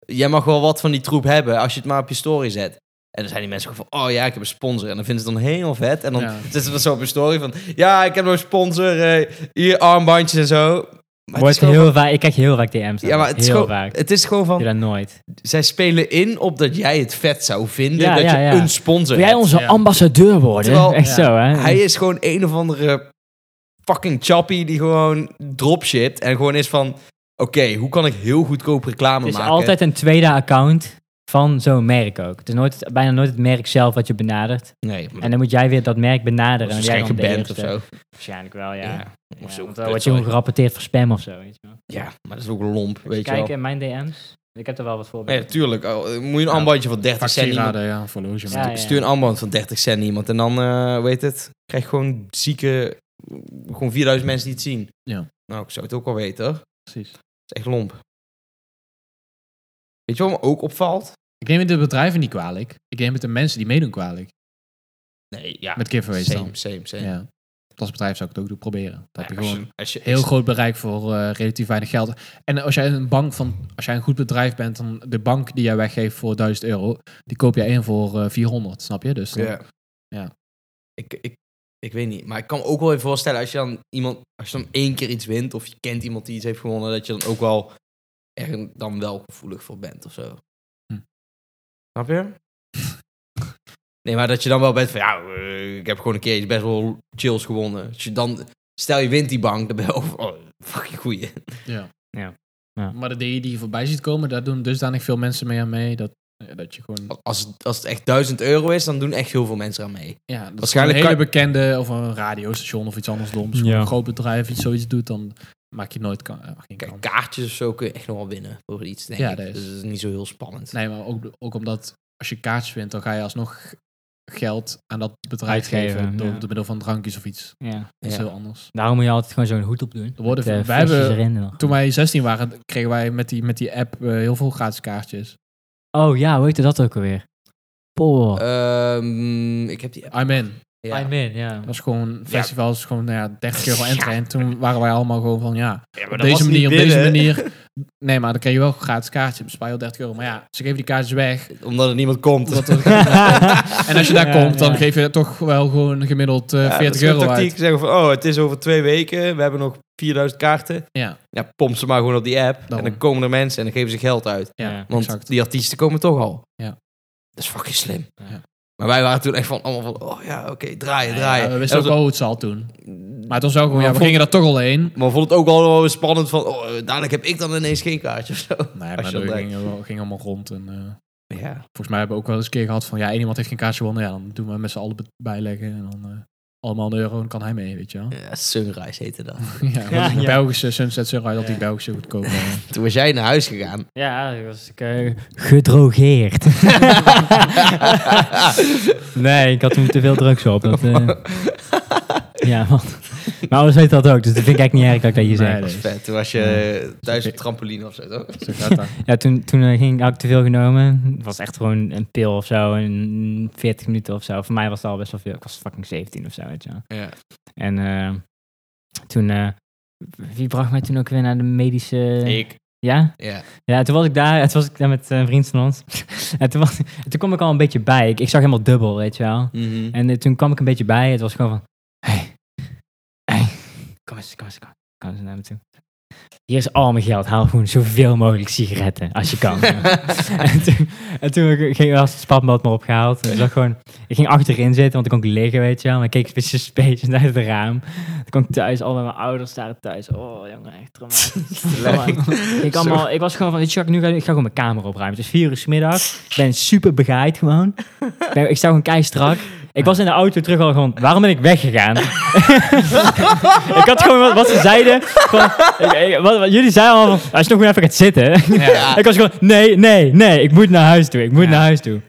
Jij mag wel wat van die troep hebben als je het maar op je story zet. En dan zijn die mensen gewoon van, oh ja, ik heb een sponsor. En dan vinden ze het dan helemaal vet. En dan Ja. zitten ze dan zo op een story van, ja, ik heb nog een sponsor. eh, hier armbandjes en zo. Maar het is Wordt gewoon heel van- vaak, ik krijg heel vaak DM's. Ja, maar het is, heel gewoon, vaak. het is gewoon van, Ja, dan nooit. zij spelen in op dat jij het vet zou vinden Ja, dat ja, je ja. een sponsor Wil jij hebt. onze ja. ambassadeur worden? Terwijl- Echt Ja. zo, hè? Hij is gewoon een of andere fucking chappie die gewoon dropshit en gewoon is van... Oké, hoe kan ik heel goedkoop reclame Het is maken? altijd een tweede account van zo'n merk ook. Het is nooit, bijna nooit het merk zelf wat je benadert. Nee, maar En dan moet jij weer dat merk benaderen. dat en is jij geen dan de geband eerste. of zo. Waarschijnlijk wel, ja. ja. Of zo. want dan word je gewoon gerapporteerd voor spam of zo. Weet je wel. Ja, maar dat is ook lomp, Moet je weet je kijken wel. in mijn DM's. Ik heb er wel wat voorbeelden. Nee, tuurlijk. oh, moet je een Ja. armbandje van 30 cent iemand... Factierade, ja, voor loge. Ja, ja. Stuur een armband van 30 cent iemand en dan, eh, weet het, krijg je gewoon zieke... Gewoon 4000 mensen die het zien. Ja. Nou, ik zou het ook wel weten, hoor. Precies. Dat is echt lomp. Weet je wat me ook opvalt? Ik neem het de bedrijven niet kwalijk. Ik neem het de mensen die meedoen kwalijk. Nee, ja. Met giveaways same, dan. same, same. Ja. Want Als bedrijf zou ik het ook doen, proberen. Dat heb je Als je- gewoon als je- heel groot bereik voor eh, relatief weinig geld. En als jij een bank van, als jij een goed bedrijf bent, dan de bank die jij weggeeft voor 1000 euro, die koop jij in voor eh, 400, snap je? Dus dan- Ja. Ja. Ik, ik, ik weet niet, maar ik kan me ook wel even voorstellen als je dan iemand, als je dan één keer iets wint of je kent iemand die iets heeft gewonnen, dat je dan ook wel er dan wel gevoelig voor bent of zo. Hm. Snap je? nee, maar dat je dan wel bent van ja, eh, ik heb gewoon een keer iets best wel chills gewonnen. Als je dan, stel je wint die bank, dan ben je over, oh, fucking goeie. Ja. Ja. Ja. Maar de dingen die je voorbij ziet komen, daar doen dusdanig veel mensen mee aan mee. Dat, eh, dat je gewoon. Als, het- als het echt 1000 euro is, dan doen echt heel veel mensen aan mee. Ja, Waarschijnlijk dat Waarschijnlijk een hele kan- bekende of een radiostation of iets anders doms. Ja. Een groot bedrijf iets zoiets doet, dan maak je nooit kan, eh, geen Kijk, kans. kaartjes of zo kun je echt nog wel winnen voor iets, denk Ja, ik. dat is- Dus dat is niet zo heel spannend. Nee, maar ook, ook omdat als je kaartjes wint, dan ga je alsnog geld aan dat bedrijf Uitgeven, geven. Door ja. door middel van drankjes of iets. Ja. Dat is Ja. heel anders. Daarom moet je altijd gewoon zo'n hoed op doen. Er worden, Met, eh, wij flesjes hebben, erin en dan- toen wij 16 waren, kregen wij met die, met die app eh, heel veel gratis kaartjes. Oh ja, hoe heette dat ook alweer? Oh. Poor. Ehm, ik heb die... I'm in. Eh, Ja. I'm in, ja. Dat was gewoon festivals, gewoon nou ja, 30 euro entry. En toen waren wij allemaal gewoon van ja, maar op deze manier, op deze manier. Nee, maar dan kreeg je wel een gratis kaartje. Bespaar je al 30 euro. Maar ja, ze geven die kaartjes weg. Omdat er niemand komt. Omdat er- eh, en als je daar Ja, komt, dan ja. geef je toch wel gewoon gemiddeld eh, Ja, dat 40 is een euro tactiek. uit. Zeggen van, oh, het is over twee weken. We hebben nog 4000 kaarten. Ja, Ja, pomp ze maar gewoon op die app. En Daarom. dan komen er mensen en dan geven ze geld uit. ja, Ja. Want exact. die artiesten komen toch al. Ja. Dat is fucking slim. Ja. Maar wij waren toen echt van, allemaal van, oh ja, oké, draaien, draaien. Ja, we wisten En ook dat wel hoe het zal toen. was- Maar het was ook gewoon, ja, we vond- gingen er toch al heen. Maar we vonden het ook wel wel spannend van, oh, eh, dadelijk heb ik dan ineens geen kaartje of zo. Nee, Als maar je we dat denkt. gingen, wel- gingen allemaal rond. En, eh, Ja. volgens mij hebben we ook wel eens een keer gehad van, ja, één iemand heeft geen kaartje gewonnen. Ja, dan doen we met z'n allen be- bijleggen. En dan eh, allemaal een euro, dan kan hij mee, weet je wel. ja, Sunrise heette dat. Ja, want Ja, de ja. Belgische Sunset Sunrise, dat die Ja. Belgische goedkoop. eh, Toen was jij naar huis gegaan. Ja, dat was ik eh, gedrogeerd. nee, ik had toen te veel drugs op. Dat, eh, ja, man. Mijn ouders weten dat ook, dus dat vind ik eigenlijk niet erg dat ik dat je Nee, zegt. Dat nee. is vet. Toen was je thuis op trampoline of zo, toch? Zo gaat dat. Ja, toen, toen eh, ging, had ik te veel genomen. Het was echt gewoon een pil of zo, een 40 minuten of zo. Voor mij was het al best wel veel. Ik was fucking 17 of zo, weet je wel. Ja. En eh, toen... eh, wie bracht mij toen ook weer naar de medische... Ik. Ja? Ja. Ja, toen was ik daar, en toen was ik daar met eh, een vriend van ons. en toen, was, en toen kwam ik al een beetje bij. Ik, ik zag helemaal dubbel, weet je wel. Mhm. En eh, toen kwam ik een beetje bij. Het was gewoon van... Hey, hey, kom eens, kom eens, kom, kom eens naar me toe. Hier is al mijn geld. Haal gewoon zoveel mogelijk sigaretten, als je kan. en toen, en toen ging was het spatmat maar opgehaald. En ik zag gewoon... Ik ging achterin zitten, want ik kon ik liggen, weet je wel. Maar ik keek een beetje space uit het raam. Toen kwam ik thuis, al bij mijn ouders daar thuis. Oh, jongen, echt traumatisch. Traumatisch. ik, allemaal, ik was gewoon van, weet je wat ik nu ga doen? Ik ga gewoon mijn kamer opruimen. Het is vier uur 's middags. Ik ben super begaaid gewoon. Ik ben- Ik sta gewoon keistrak. Ik was in de auto terug al gewoon, waarom ben ik weggegaan? ik had gewoon wat, wat ze zeiden. Van, ik- ik- wat, wat jullie zeiden allemaal van, als je nog gewoon even gaat zitten. Ja. ik was gewoon, nee, nee, nee, ik moet naar huis toe. Ik moet Ja. naar huis toe.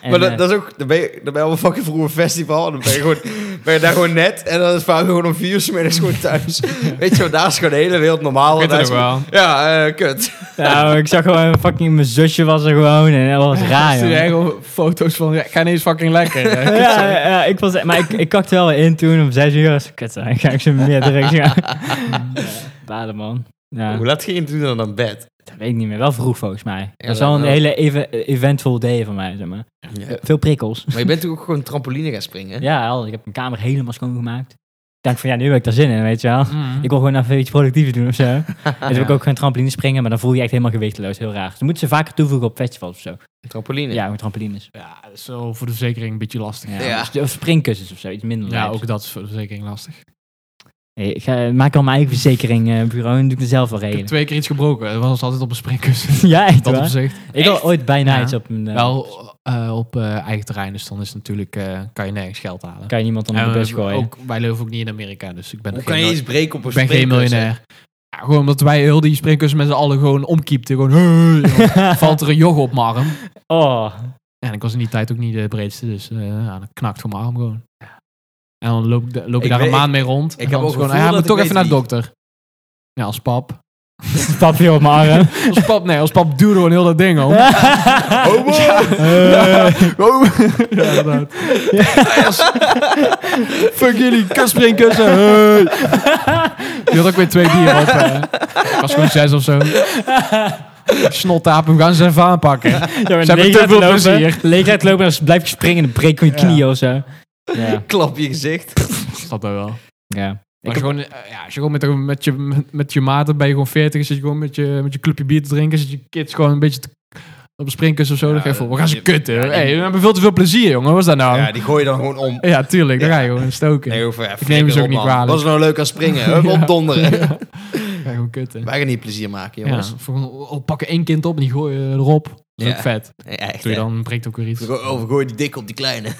En, maar dat, eh, dat is ook, dan ben je, dan ben je op een fucking vroeger festival en dan ben je, gewoon, ben je daar gewoon net en dan is Fabio gewoon om vier uur 's middags gewoon thuis. Weet je wel, daar is gewoon de hele wereld normaal. Ik en weet daar het is ook wel. gewoon- Ja, eh, kut. Nou, ik zag gewoon fucking mijn zusje was er gewoon en dat was raar. Stuur joh. jij gewoon foto's van, ja, ik ga ineens fucking lekker. hè. Ja, ja, ja, ik was, maar ik, ik kakte wel in toen om zes uur. Als kut, hè, ik ga ik ze meer direct gaan. Baden man. Ja, Hoe laat ging je toen dan naar bed? dat weet ik niet meer. Wel vroeg volgens mij. dat was dat- wel een dat- hele even, eventful day voor mij, zeg maar. Veel prikkels. Eh, Maar je bent toch ook gewoon trampoline gaan springen? Ja, wel, ik heb mijn kamer helemaal schoongemaakt. Ik dacht van, ja, nu heb ik daar zin in, weet je wel. Mm. Ik wil gewoon even iets productiefs doen of zo. En toen heb ik ook gaan trampoline springen, maar dan voel je je echt helemaal gewichteloos. Heel raar. Ze moeten ze vaker toevoegen op festivals of zo. Trampoline? Ja, gewoon trampolines. Ja, dat is wel voor de verzekering een beetje lastig. Ja. Ja, Ja. Of springkussens of zo, iets minder. lijps. ook dat is voor de verzekering lastig. Nee, ik ga- maak al mijn eigen verzekeringbureau en doe ik er zelf wel Ik heb regelen. twee keer iets gebroken. Dat was altijd op een springkussen. Ja, echt Dat op waar? zich. Ik had Echt? ooit bijna Ja. iets op mijn... eh, Wel eh, op eh, eigen terrein, dus dan is het natuurlijk, eh, kan je nergens geld halen. Kan je niemand onder En de bus we- gooien. Ook, wij leven ook niet in Amerika, dus ik ben, Hoe geen, kan je mil- eens breken op een ik ben geen springkussen? miljonair. Ja, gewoon omdat wij heel die springkussen met z'n allen gewoon omkiepten. Gewoon, "Hey", en dan valt er een jog op mijn arm. Oh, En ik was in die tijd ook niet de breedste, dus eh ja, dat knakt voor mijn arm gewoon. En dan loop, ik da- loop je Ik daar weet- een maand mee rond. en heb dan ook is gewoon, gevoel ja, dat moet ik toch weet even naar de wie. dokter. Ja, als pap. pap viel op mijn arm. Als pap, nee, als pap duwde gewoon heel dat ding om. Ja, Homo! Homo! inderdaad. Als- Fuck jullie, kutspringkussen. Hey. Die had ook weer twee bier op. eh. Ik was gewoon zes of zo. Snottapen, we gaan ze even aanpakken. Ja, Ze hebben te veel plezier. Leegheid lopen en dan blijf je springen en dan breek je je Ja. knieën of zo. Ja, Klap je gezicht. Snap dat wel. ja. Maar als, je gewoon, eh, ja, als je gewoon met, met, je, met, met je maten ben je gewoon 40, zit je gewoon met je, met je clubje bier te drinken, zit je kids gewoon een beetje te, op een springkussen of zo. dan ga je van, we gaan ze je- kutten. ja, die- hey, we hebben veel te veel plezier, jongen. Wat is dat nou? Ja, Ja, die gooi je dan gewoon om. tuurlijk. Daar ga je gewoon stoken. Nee, Ja, hoef, eh, ja, Ik neem ze ook niet kwalijk. Was nou leuk aan springen? Hup, opdonderen. ga je gewoon kutten. Wij gaan niet plezier maken, Ja, jongens. voor, oh, pakken één kind op en die gooien erop. Dat is Ja. ook vet. Ja, echt. Doe je hè. dan, breekt ook weer iets. Go- Oh, we gooien die dik op die kleine.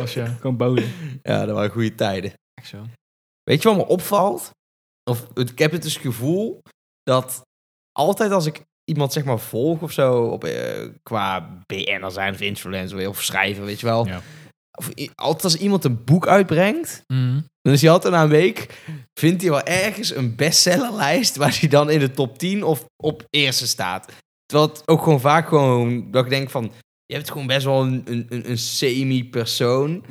Als je- Gewoon boden. Ja, dat waren goede tijden. Echt zo. Weet je wat me opvalt? Of het- ik heb het dus gevoel dat altijd als ik iemand zeg maar volg of zo, op, eh, qua BN'er zijn of influencer of schrijver, weet je wel. Ja. Of i- altijd als iemand een boek uitbrengt, Mm. Dan is hij altijd na een week, vindt hij wel ergens een bestsellerlijst waar hij dan in de top 10 of op eerste staat. Terwijl het ook gewoon vaak gewoon, dat ik denk van, je hebt gewoon best wel een, een, een, een semi-persoon.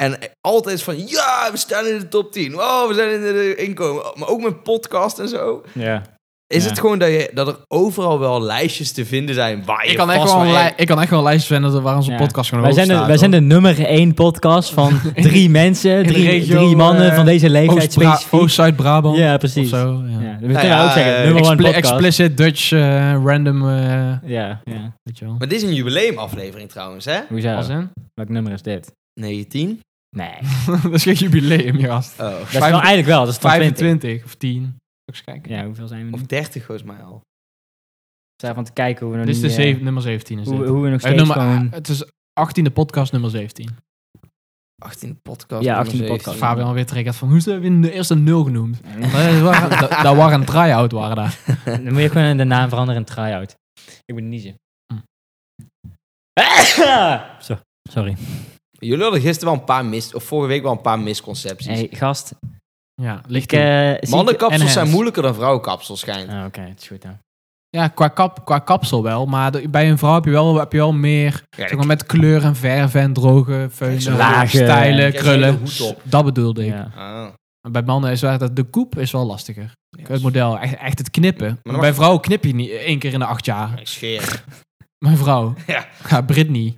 En altijd is van, ja, we staan in de top 10. Wow, we zijn in de inkomen. Maar ook met podcast en zo. Ja. Is Ja. het gewoon dat, je, dat er overal wel lijstjes te vinden zijn waar je Ik, kan echt vast wel een wel lij- ik kan echt wel een lijst vinden waar onze Ja. podcast gewoon Wij hoog zijn, de, staat, wij zijn hoor. de nummer één podcast van drie mensen, de drie, regio, drie mannen eh, van deze leeftijd Oost-Bra- specifiek. Oost-Zuid-Brabant. ja, of precies. zo. Ja. Ja, dat kunnen ja, we ook zeggen. eh, nummer one Expli- podcast. explicit Dutch eh, random. eh, Ja, ja. weet je wel. Maar dit is een jubileumaflevering trouwens, hè? Als Hoezo? in? Welk nummer is dit? 19. Nee. dat is geen jubileum, je gast. Oh. Dat is wel eigenlijk wel, dat is van 20. 25 of 10. Moet ik eens kijken. Ja, hoeveel zijn we Of nu? 30 volgens mij al. Ik sta van te kijken hoe we nog Dit is de niet, eh, zeven- nummer 17. Is dit. hoe, hoe we nog Eh, steeds nummer, gewoon... Het is 18e podcast, nummer 17. 18e podcast. Oh, Ja, nummer 18e podcast. zeventien. Fabian weer triggerd van, hoe is dat weer de eerste nul genoemd? dat, waren, dat, dat waren een try-out, waren daar. Dan moet je gewoon de naam veranderen in try-out. Ik moet niezen. Hm. Zo, sorry. Jullie hadden gisteren wel een paar mis... Of vorige week wel een paar misconcepties. Hey, gast. Ja, Ik, ligt eh, toe. zie- en Mannenkapsels hands. zijn moeilijker dan vrouwenkapsels schijnt. Ah, Oké, het is goed dan. ja qua, kap, qua kapsel wel, maar de- bij een vrouw heb je wel, heb je wel meer Ja, zeg maar, met kleur en verven en droge Kijk, zo'n veunen, lage- stijlen, Kijk, zo'n hele krullen. hoed op. Dat bedoelde ik. Ja. Ah. Maar bij mannen is waar dat de koep is wel lastiger. Het model, echt, echt het knippen. dan bij mag- vrouwen knip je niet één keer in de acht jaar. Scheer. Mijn vrouw. Ja. Ja, Britney.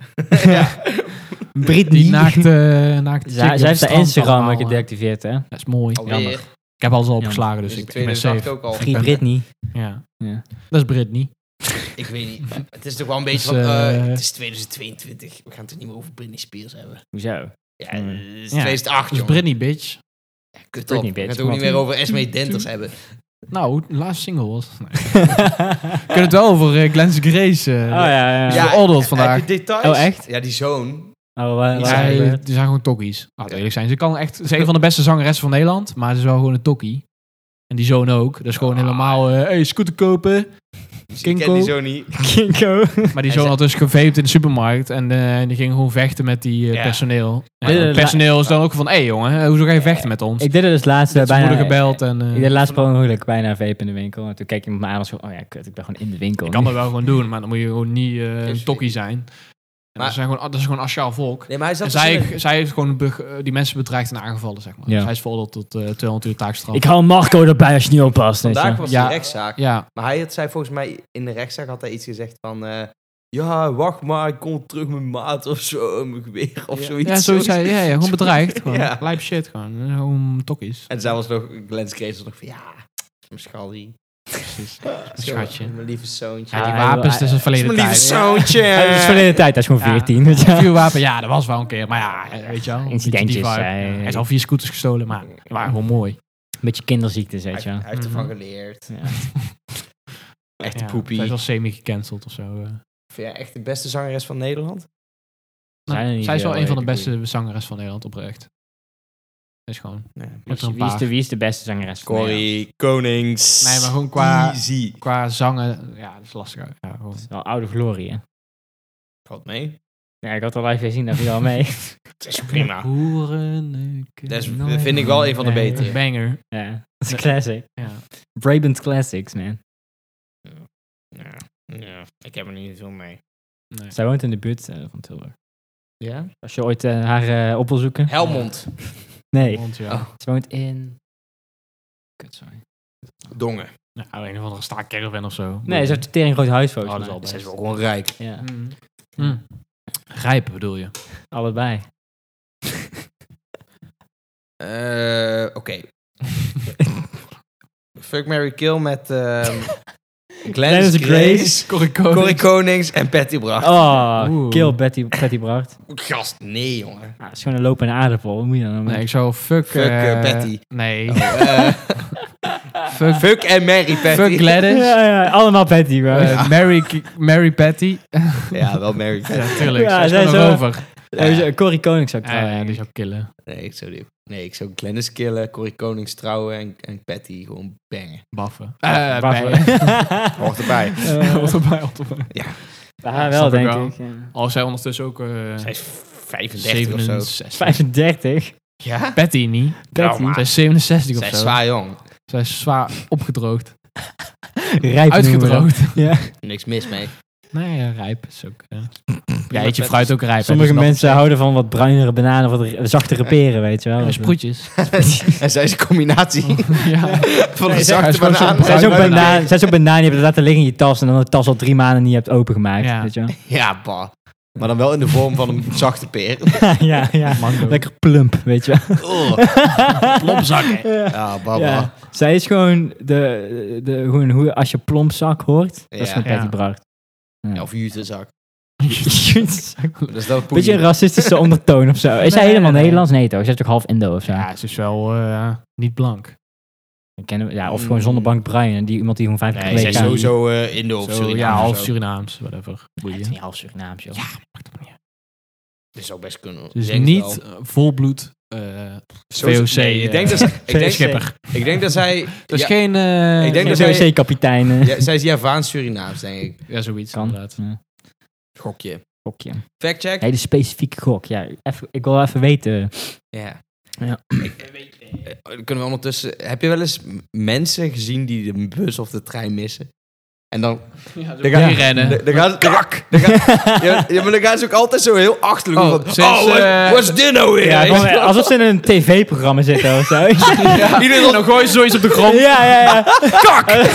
Britney. Die naakt, eh naakt chick die op zij, zij het heeft haar strand Instagram allemaal, ook gedeactiveerd, hè? eh, Dat is mooi. Jammer. Alweer. Ik heb alles al Jammer. opgeslagen, dus Dus in ik, ik ben safe. 2008 ook al. Free ben- Britney. Ja. Ja. Dat is Britney. Ik weet niet. Het is toch wel een beetje Dus, van... eh, eh, het is 2022. We gaan het er niet meer over Britney Spears hebben. Hoezo? Ja, Hmm. het is Ja. Dus 2008, Dat is jongen. Britney, bitch. Ja, kut op. Britney, We gaan het bitch, ook niet wat? meer over Esme Denters hebben. Nou, de laatste single was. Nee. We kunnen het wel over eh, Glenn's Grace. eh, Oh ja, ja. Ja. veroordeeld vandaag. Heb je details? Oh, echt? Ja, die zoon. Oh, wa- Niet wa- Zij, wa- die zijn gewoon tokkies. Laten we eerlijk zijn. Ze, kan echt, ze is een van de beste zangeressen van Nederland, maar ze is wel gewoon een tokkie. En die zoon ook. Dat is Ah. gewoon helemaal, eh hey, scooter kopen. Ik Kinko. ken die zo niet. Kinko. Maar die Hij zoon zei- had dus gevaped in de supermarkt en eh, die ging gewoon vechten met die eh, Ja. personeel. En Dit is het personeel is dan ook van, hé hey, jongen, eh, hoezo ga je vechten met ons? Ik deed het dus laatst eh, Ze bijna... moeder gebeld en eh, Ik deed laatst per ongeluk bijna een vape in de winkel. En toen keek iemand me aan en zo... Oh ja, kut, ik ben gewoon in de winkel. ik kan dat wel gewoon doen, maar dan moet je gewoon niet eh, Is- een tokkie zijn. En Maar- dat, zijn gewoon, dat is gewoon een asjaal volk. Nee, maar hij En zat dus in zij, zij heeft gewoon be- eh, die mensen bedreigd en aangevallen, zeg maar. Ja. Zij is veroordeeld tot eh, 200 uur taakstraf. Ik haal Marco erbij als je niet oppast. een- weet je Vandaag wel. was Ja. de rechtszaak. Ja, Maar hij had, zei volgens mij in de rechtszaak had hij iets gezegd van... eh, ja, wacht maar, ik kom terug met maat of zo, en mijn geweer of zoiets. ja, zo zei, ja, ja, gewoon bedreigd. Gewoon. Ja. Lijp shit, gewoon. Eh, Gewoon tokkies. En zij was nog, Glenn Grace was nog van, ja, mijn schaldi. Precies. Zo, Schatje. Mijn lieve zoontje. Ja, die hij wil- wapens, dat is het mijn verleden lieve tijd. zoontje. Ja, dat is verleden tijd, dat is gewoon Ja. 14. weet je wel. Vuurwapen, ja, dat was wel een keer. Maar ja, eh, weet je wel. een beetje die Incidentjes, vibe. eh, Hij is al vier scooters gestolen, maar die waren gewoon mooi. Beetje kinderziektes, Hij, weet je wel. hij heeft ervan Mhm. geleerd. Ja. Echte Ja, poepie. Hij is al semi-gecanceld of zo. eh. Vind jij echt de beste zangeres van Nederland? Zijn er niet Nou, Zij is wel veel een van de leuke beste zangeres van Nederland, oprecht. Is gewoon. Nee. Moet er een Wie is, paar. de, wie is de beste zangeres? van Nederland? Corrie Konings. Nee, maar gewoon qua- Easy. Qua zangen, ja, dat is lastig. Ja, gewoon. Dat is Wel oude glorie, hè? Valt mee. Ja, ik had al live gezien, daar viel al mee. Dat is prima. Hoerenneuken, Dat is- nooit vind ik wel een van de meer. betere. eh, Banger. ja, dat is classic. Ja. Brabant Classics, man. Ja. ja, ik heb er niet veel mee. Nee. Zij woont in de buurt eh, van Tilburg. Ja? Als je ooit eh, haar eh, op wil zoeken. Helmond. Nee, Want ja. Oh. ze woont in... Kut, sorry. Dongen. Nou, een of andere staakcaravan of zo. Nee, ze heeft een tering groot huis Oh, dat is volgens mij. al best. Ze is wel gewoon rijk. Ja, Mm. Mm. Rijp bedoel je? allebei. Eh, Oké. Fuck, Mary Kill met ehm Glennis Glennis Grace, Corrico. Corrie Konings en Patty Bracht. Oh, Oeh. kill Betty, Betty Bracht. Gast, nee jongen. Ah, het is gewoon een lopende aardappel. Wat moet je dan nou Nee, mee? ik zou fuck... Fuck, eh, eh, Patty. Nee. Eh, Fuck, fuck en Mary Patty. fuck Gladys. Ja, ja, allemaal Betty, bro. eh, Mary, Ki- Mary Patty. Ja, wel Mary Patty. ja, tuurlijk. Ja, Ja, zij zij zou- over. Eh, Eh, Corrie Konings zou ik Ja, trouwen. ja, die zou ik killen. Nee, ik zou, die- nee, ik zou Glennis killen, Corrie Konings trouwen en, en Patty gewoon bangen. Baffen. Ja, Eh, wacht, bij- hoor. Hoort erbij. Eh, Hoort erbij, hoort erbij. bij haar wel, Snap ik denk wel. ik. ja. Als zij ondertussen ook... eh Zij is 35 of zo. 67. 35. Ja? Patty niet. Betty. maar- Zij is 67 of Zij is zo. zwaar jong. Zij is zwaar opgedroogd. Rijp noemen we Uitgedroogd. dat. Ja. Niks mis mee. Nee, ja, rijp is ook... eh. Ja, Ja, eet je vet. fruit ook rijp. hè, Sommige dus dat- mensen houden van wat bruinere bananen of wat r- zachtere peren, weet je wel. Ja, Sproetjes. en zij is een combinatie ja. van Nee, een hij is zij- zachte gewoon zo'n banaan. Zij is ook Bruin- banaan, zij is ook banaan, die hebben laten liggen in je tas en dan de tas al drie maanden niet hebt opengemaakt, Ja. weet je wel. Ja, bah. Maar dan wel in de vorm van een zachte peer. ja, ja. Mango. Lekker plump, weet je wel. Oh, Plompzakken. Ja. Ja, bah, bah. Ja. Zij is gewoon de, de gewoon hoe als je plompzak hoort, dat is Ja. gewoon Patty Ja. Bracht. Ja, Of jutezak. Jezus. Dus dat Beetje een poeie. racistische ondertoon of zo. Is zij Nee, helemaal nee. Nederlands? Nee toch? Zij is toch half Indo of zo? Ja, ze is wel eh, niet blank. Ik ken hem- ja of Mm. gewoon zonnebank Brian. en Die, iemand die gewoon vijf keer Nee, zij is geleden- zo- sowieso eh Indo of Zo, Suriname. ja, of half zo. Surinaams, whatever. Ja, Boeien. het is niet half Surinaams, joh. maakt het niet uit. Dat zou best kunnen. Dus Denk het niet eh, volbloed eh wel. VOC. Nee, ik denk dat zij... Ik denk, schipper. ik denk dat zij... Dat is ja, geen... eh, Ik denk Ja, dat ja, zij- WC-kapitein. eh, ja, zij is Javaans Surinaams, denk ik. Ja, zoiets kan. inderdaad. Ja, Gokje. gokje. Fact check? Hele specifieke gok. Ja, even, ik wil even weten. Ja. Ja. Ik- eh, Kunnen we ondertussen... Heb je wel eens m- mensen gezien die de bus of de trein missen? En dan Ja, Dan dan gaan- gaan rennen. Dan- Dan gaan, dan, dan gaan, ja, ja, maar dan gaan ze ook altijd zo heel achterlijk. Oh, Oh, ze is, oh what- eh, what's dit nou weer? Ja, gewoon alsof ze in een tv-programma zitten of zo. ja, Iedereen dan gooi je zoiets op de grond. ja, ja. Kak!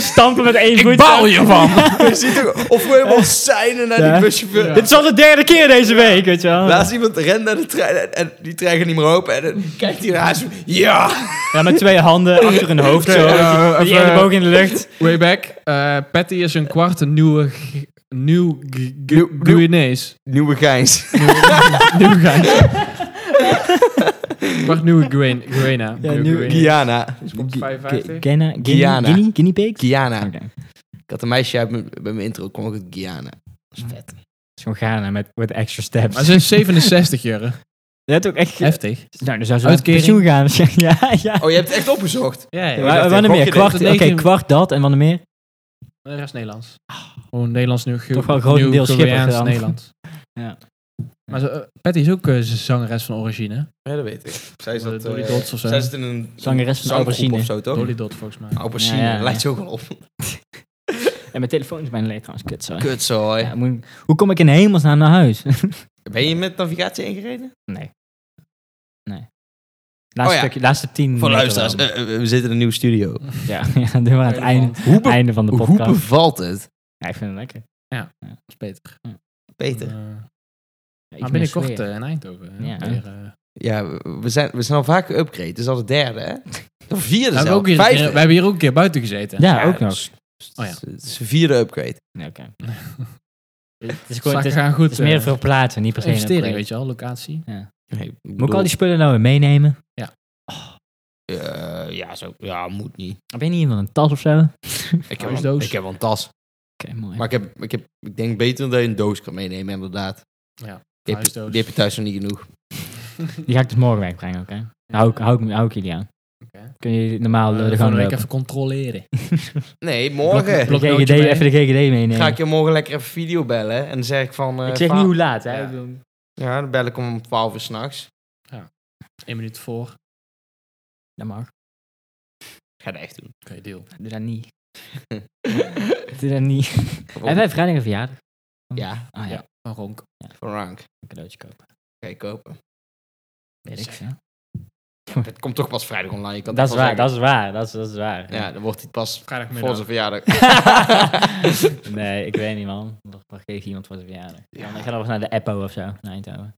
Stampen met één voet. Ik baal hiervan. Je ziet toch- of we helemaal seinen naar Ja. die buschauffeur. Dit is al de derde keer deze week, weet je wel. Laatst iemand rent naar de trein en, en die trein gaat niet meer open. En dan kijkt hij naar haar zo, ja! Ja, met twee handen achter hun hoofd zo. Ja, die eh, even- elleboog in de lucht. Way back. Eh, Patty is een kwart een nieuwe... g- Nieuw... g- Nieuw- g- Guinees. Nieuwe Gijs. Nieuw gaan. Kwart nieuwe Guin- Guinea. Nieuwe nieuw- Guinea. Guyana. Soms 55. Guinea, Guinea, Guyana. Guinea, Guinea pigs? Guyana. Oké. Dat Ik had een meisje uit mijn- bij mijn intro, kwam ook uit Guyana. Dat is vet. is gewoon Ghana met, met extra steps. Maar ze is 67 jaren. Dat heeft ook echt... Heftig. Nou, dan zou ze uit Uitkering. pensioen gaan. waarschijnlijk. ja, ja. Oh, je hebt het echt opgezocht? Ja, Wa- wa- wanneer meer? Kwart, dat oké, negen- kwart dat en wanneer meer? De rest Nederlands. Gewoon Nederlands nu. Ah. Toch wel grotendeels Schipper dan. Nederlands. Ja. Maar ze- eh, Patty is ook eh, z- zangeres van origine. Oh. Ja, dat weet ik. Zij Door zat, die eh, dots of zo. zij zat in een Zangeres van zanggroep Aubergine. of zo, toch? Dolly Dot volgens Ah, mij. Aubergine, Ja, ja, ja. lijkt zo ook wel op. En mijn telefoon is bijna leeg trouwens, kut sorry. Kut zo, Ja, moet- hoe kom ik in hemelsnaam naar huis? Ben je met navigatie ingereden? nee. Nee. Laatste, Oh ja. stukje, laatste tien Voor minuten luisteraars, wel. eh, eh, we zitten in een nieuwe studio. ja, ja, doen we aan het einde, Hoe, be- einde van de hoe podcast. bevalt het? Ja, ik vind het lekker. Dat is beter. Peter. Eh, Ja, ik maar mis binnenkort weer. eh in Eindhoven. hè, Ja. weer, eh. Ja, we- we zijn, we zijn al vaak geüpgrade. Het is al de derde, hè? De vierde we, zelf. hebben ook hier, we Vijfde. hebben hier ook een keer buiten gezeten. ja, ook dat nog. is- Oh ja. Het is de vierde upgrade. Nee, oké. het is Dus gewoon, het is, gaan het goed. is meer eh, voor plaatsen, niet per se. een investering, weet upgrade. je wel. Locatie. Nee, ik Moet ik bedoel, al die spullen nou weer meenemen? eh, ja, zo, ja, moet niet. Ben je niet iemand een tas of zo? Oké, Ik Oh, heb, is wel, doos. ik heb wel een tas. mooi. Maar ik, heb, ik, heb, ik denk beter dat je een doos kan meenemen, inderdaad. Ja, Die heb, je, huisdoos. die heb je thuis nog niet genoeg. Die ga ik dus morgen wegbrengen, oké? Hou, ik- hou, ik- hou ik jullie aan. Oké. Kun je normaal Eh, door de gang volgende week lopen? even controleren. Nee, Blok- morgen blok- De GGD, bloknootje mee. even de GGD meenemen. ga ik je morgen lekker even video bellen. En dan zeg ik van... eh, ik zeg va- niet hoe laat, hè? Ja. Ik bedoel- Ja, dan bel ik om 12 uur s'nachts. Eén minuut voor. Oké, Dat mag. Ik ga dat echt doen. deal. Doe dat niet. Doe dat niet. Hebben wij vrijdag een verjaardag? Ja, Ah ja, Ja. Van Ronk. voor rank. een cadeautje kopen. Ga je kopen. Weet ik Zeg. veel. Het komt toch pas vrijdag online. Ik kan Dat is het waar, wel dat is waar, dat is, dat is waar. zeggen. Ja, dan wordt hij pas voor Vrijdagmiddag. zijn verjaardag. nee, ik weet niet man. Dat dat geeft iemand voor zijn verjaardag. Ja. Dan ga je nog eens naar de Eppo of zo, naar Eindhoven.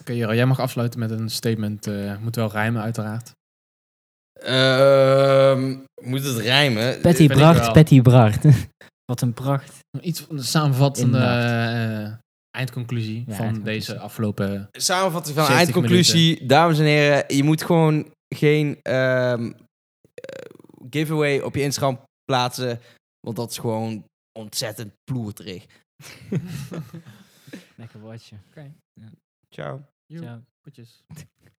Oké, Jero, jij mag afsluiten met een statement. eh, moet wel rijmen, uiteraard. Ehm, moet het rijmen? Patty ik Bracht, wel. Patty Bracht. Wat een pracht. Iets van de samenvattende Inderdaad. eh, eh, eindconclusie van eindconclusie. deze afgelopen... Samenvatting van de 70 eindconclusie. Dames en heren, je moet gewoon geen ehm, eh, giveaway op je Instagram plaatsen. Want dat is gewoon ontzettend ploerterig. Lekker watje. Ciao. Joe, Ciao. goedjes.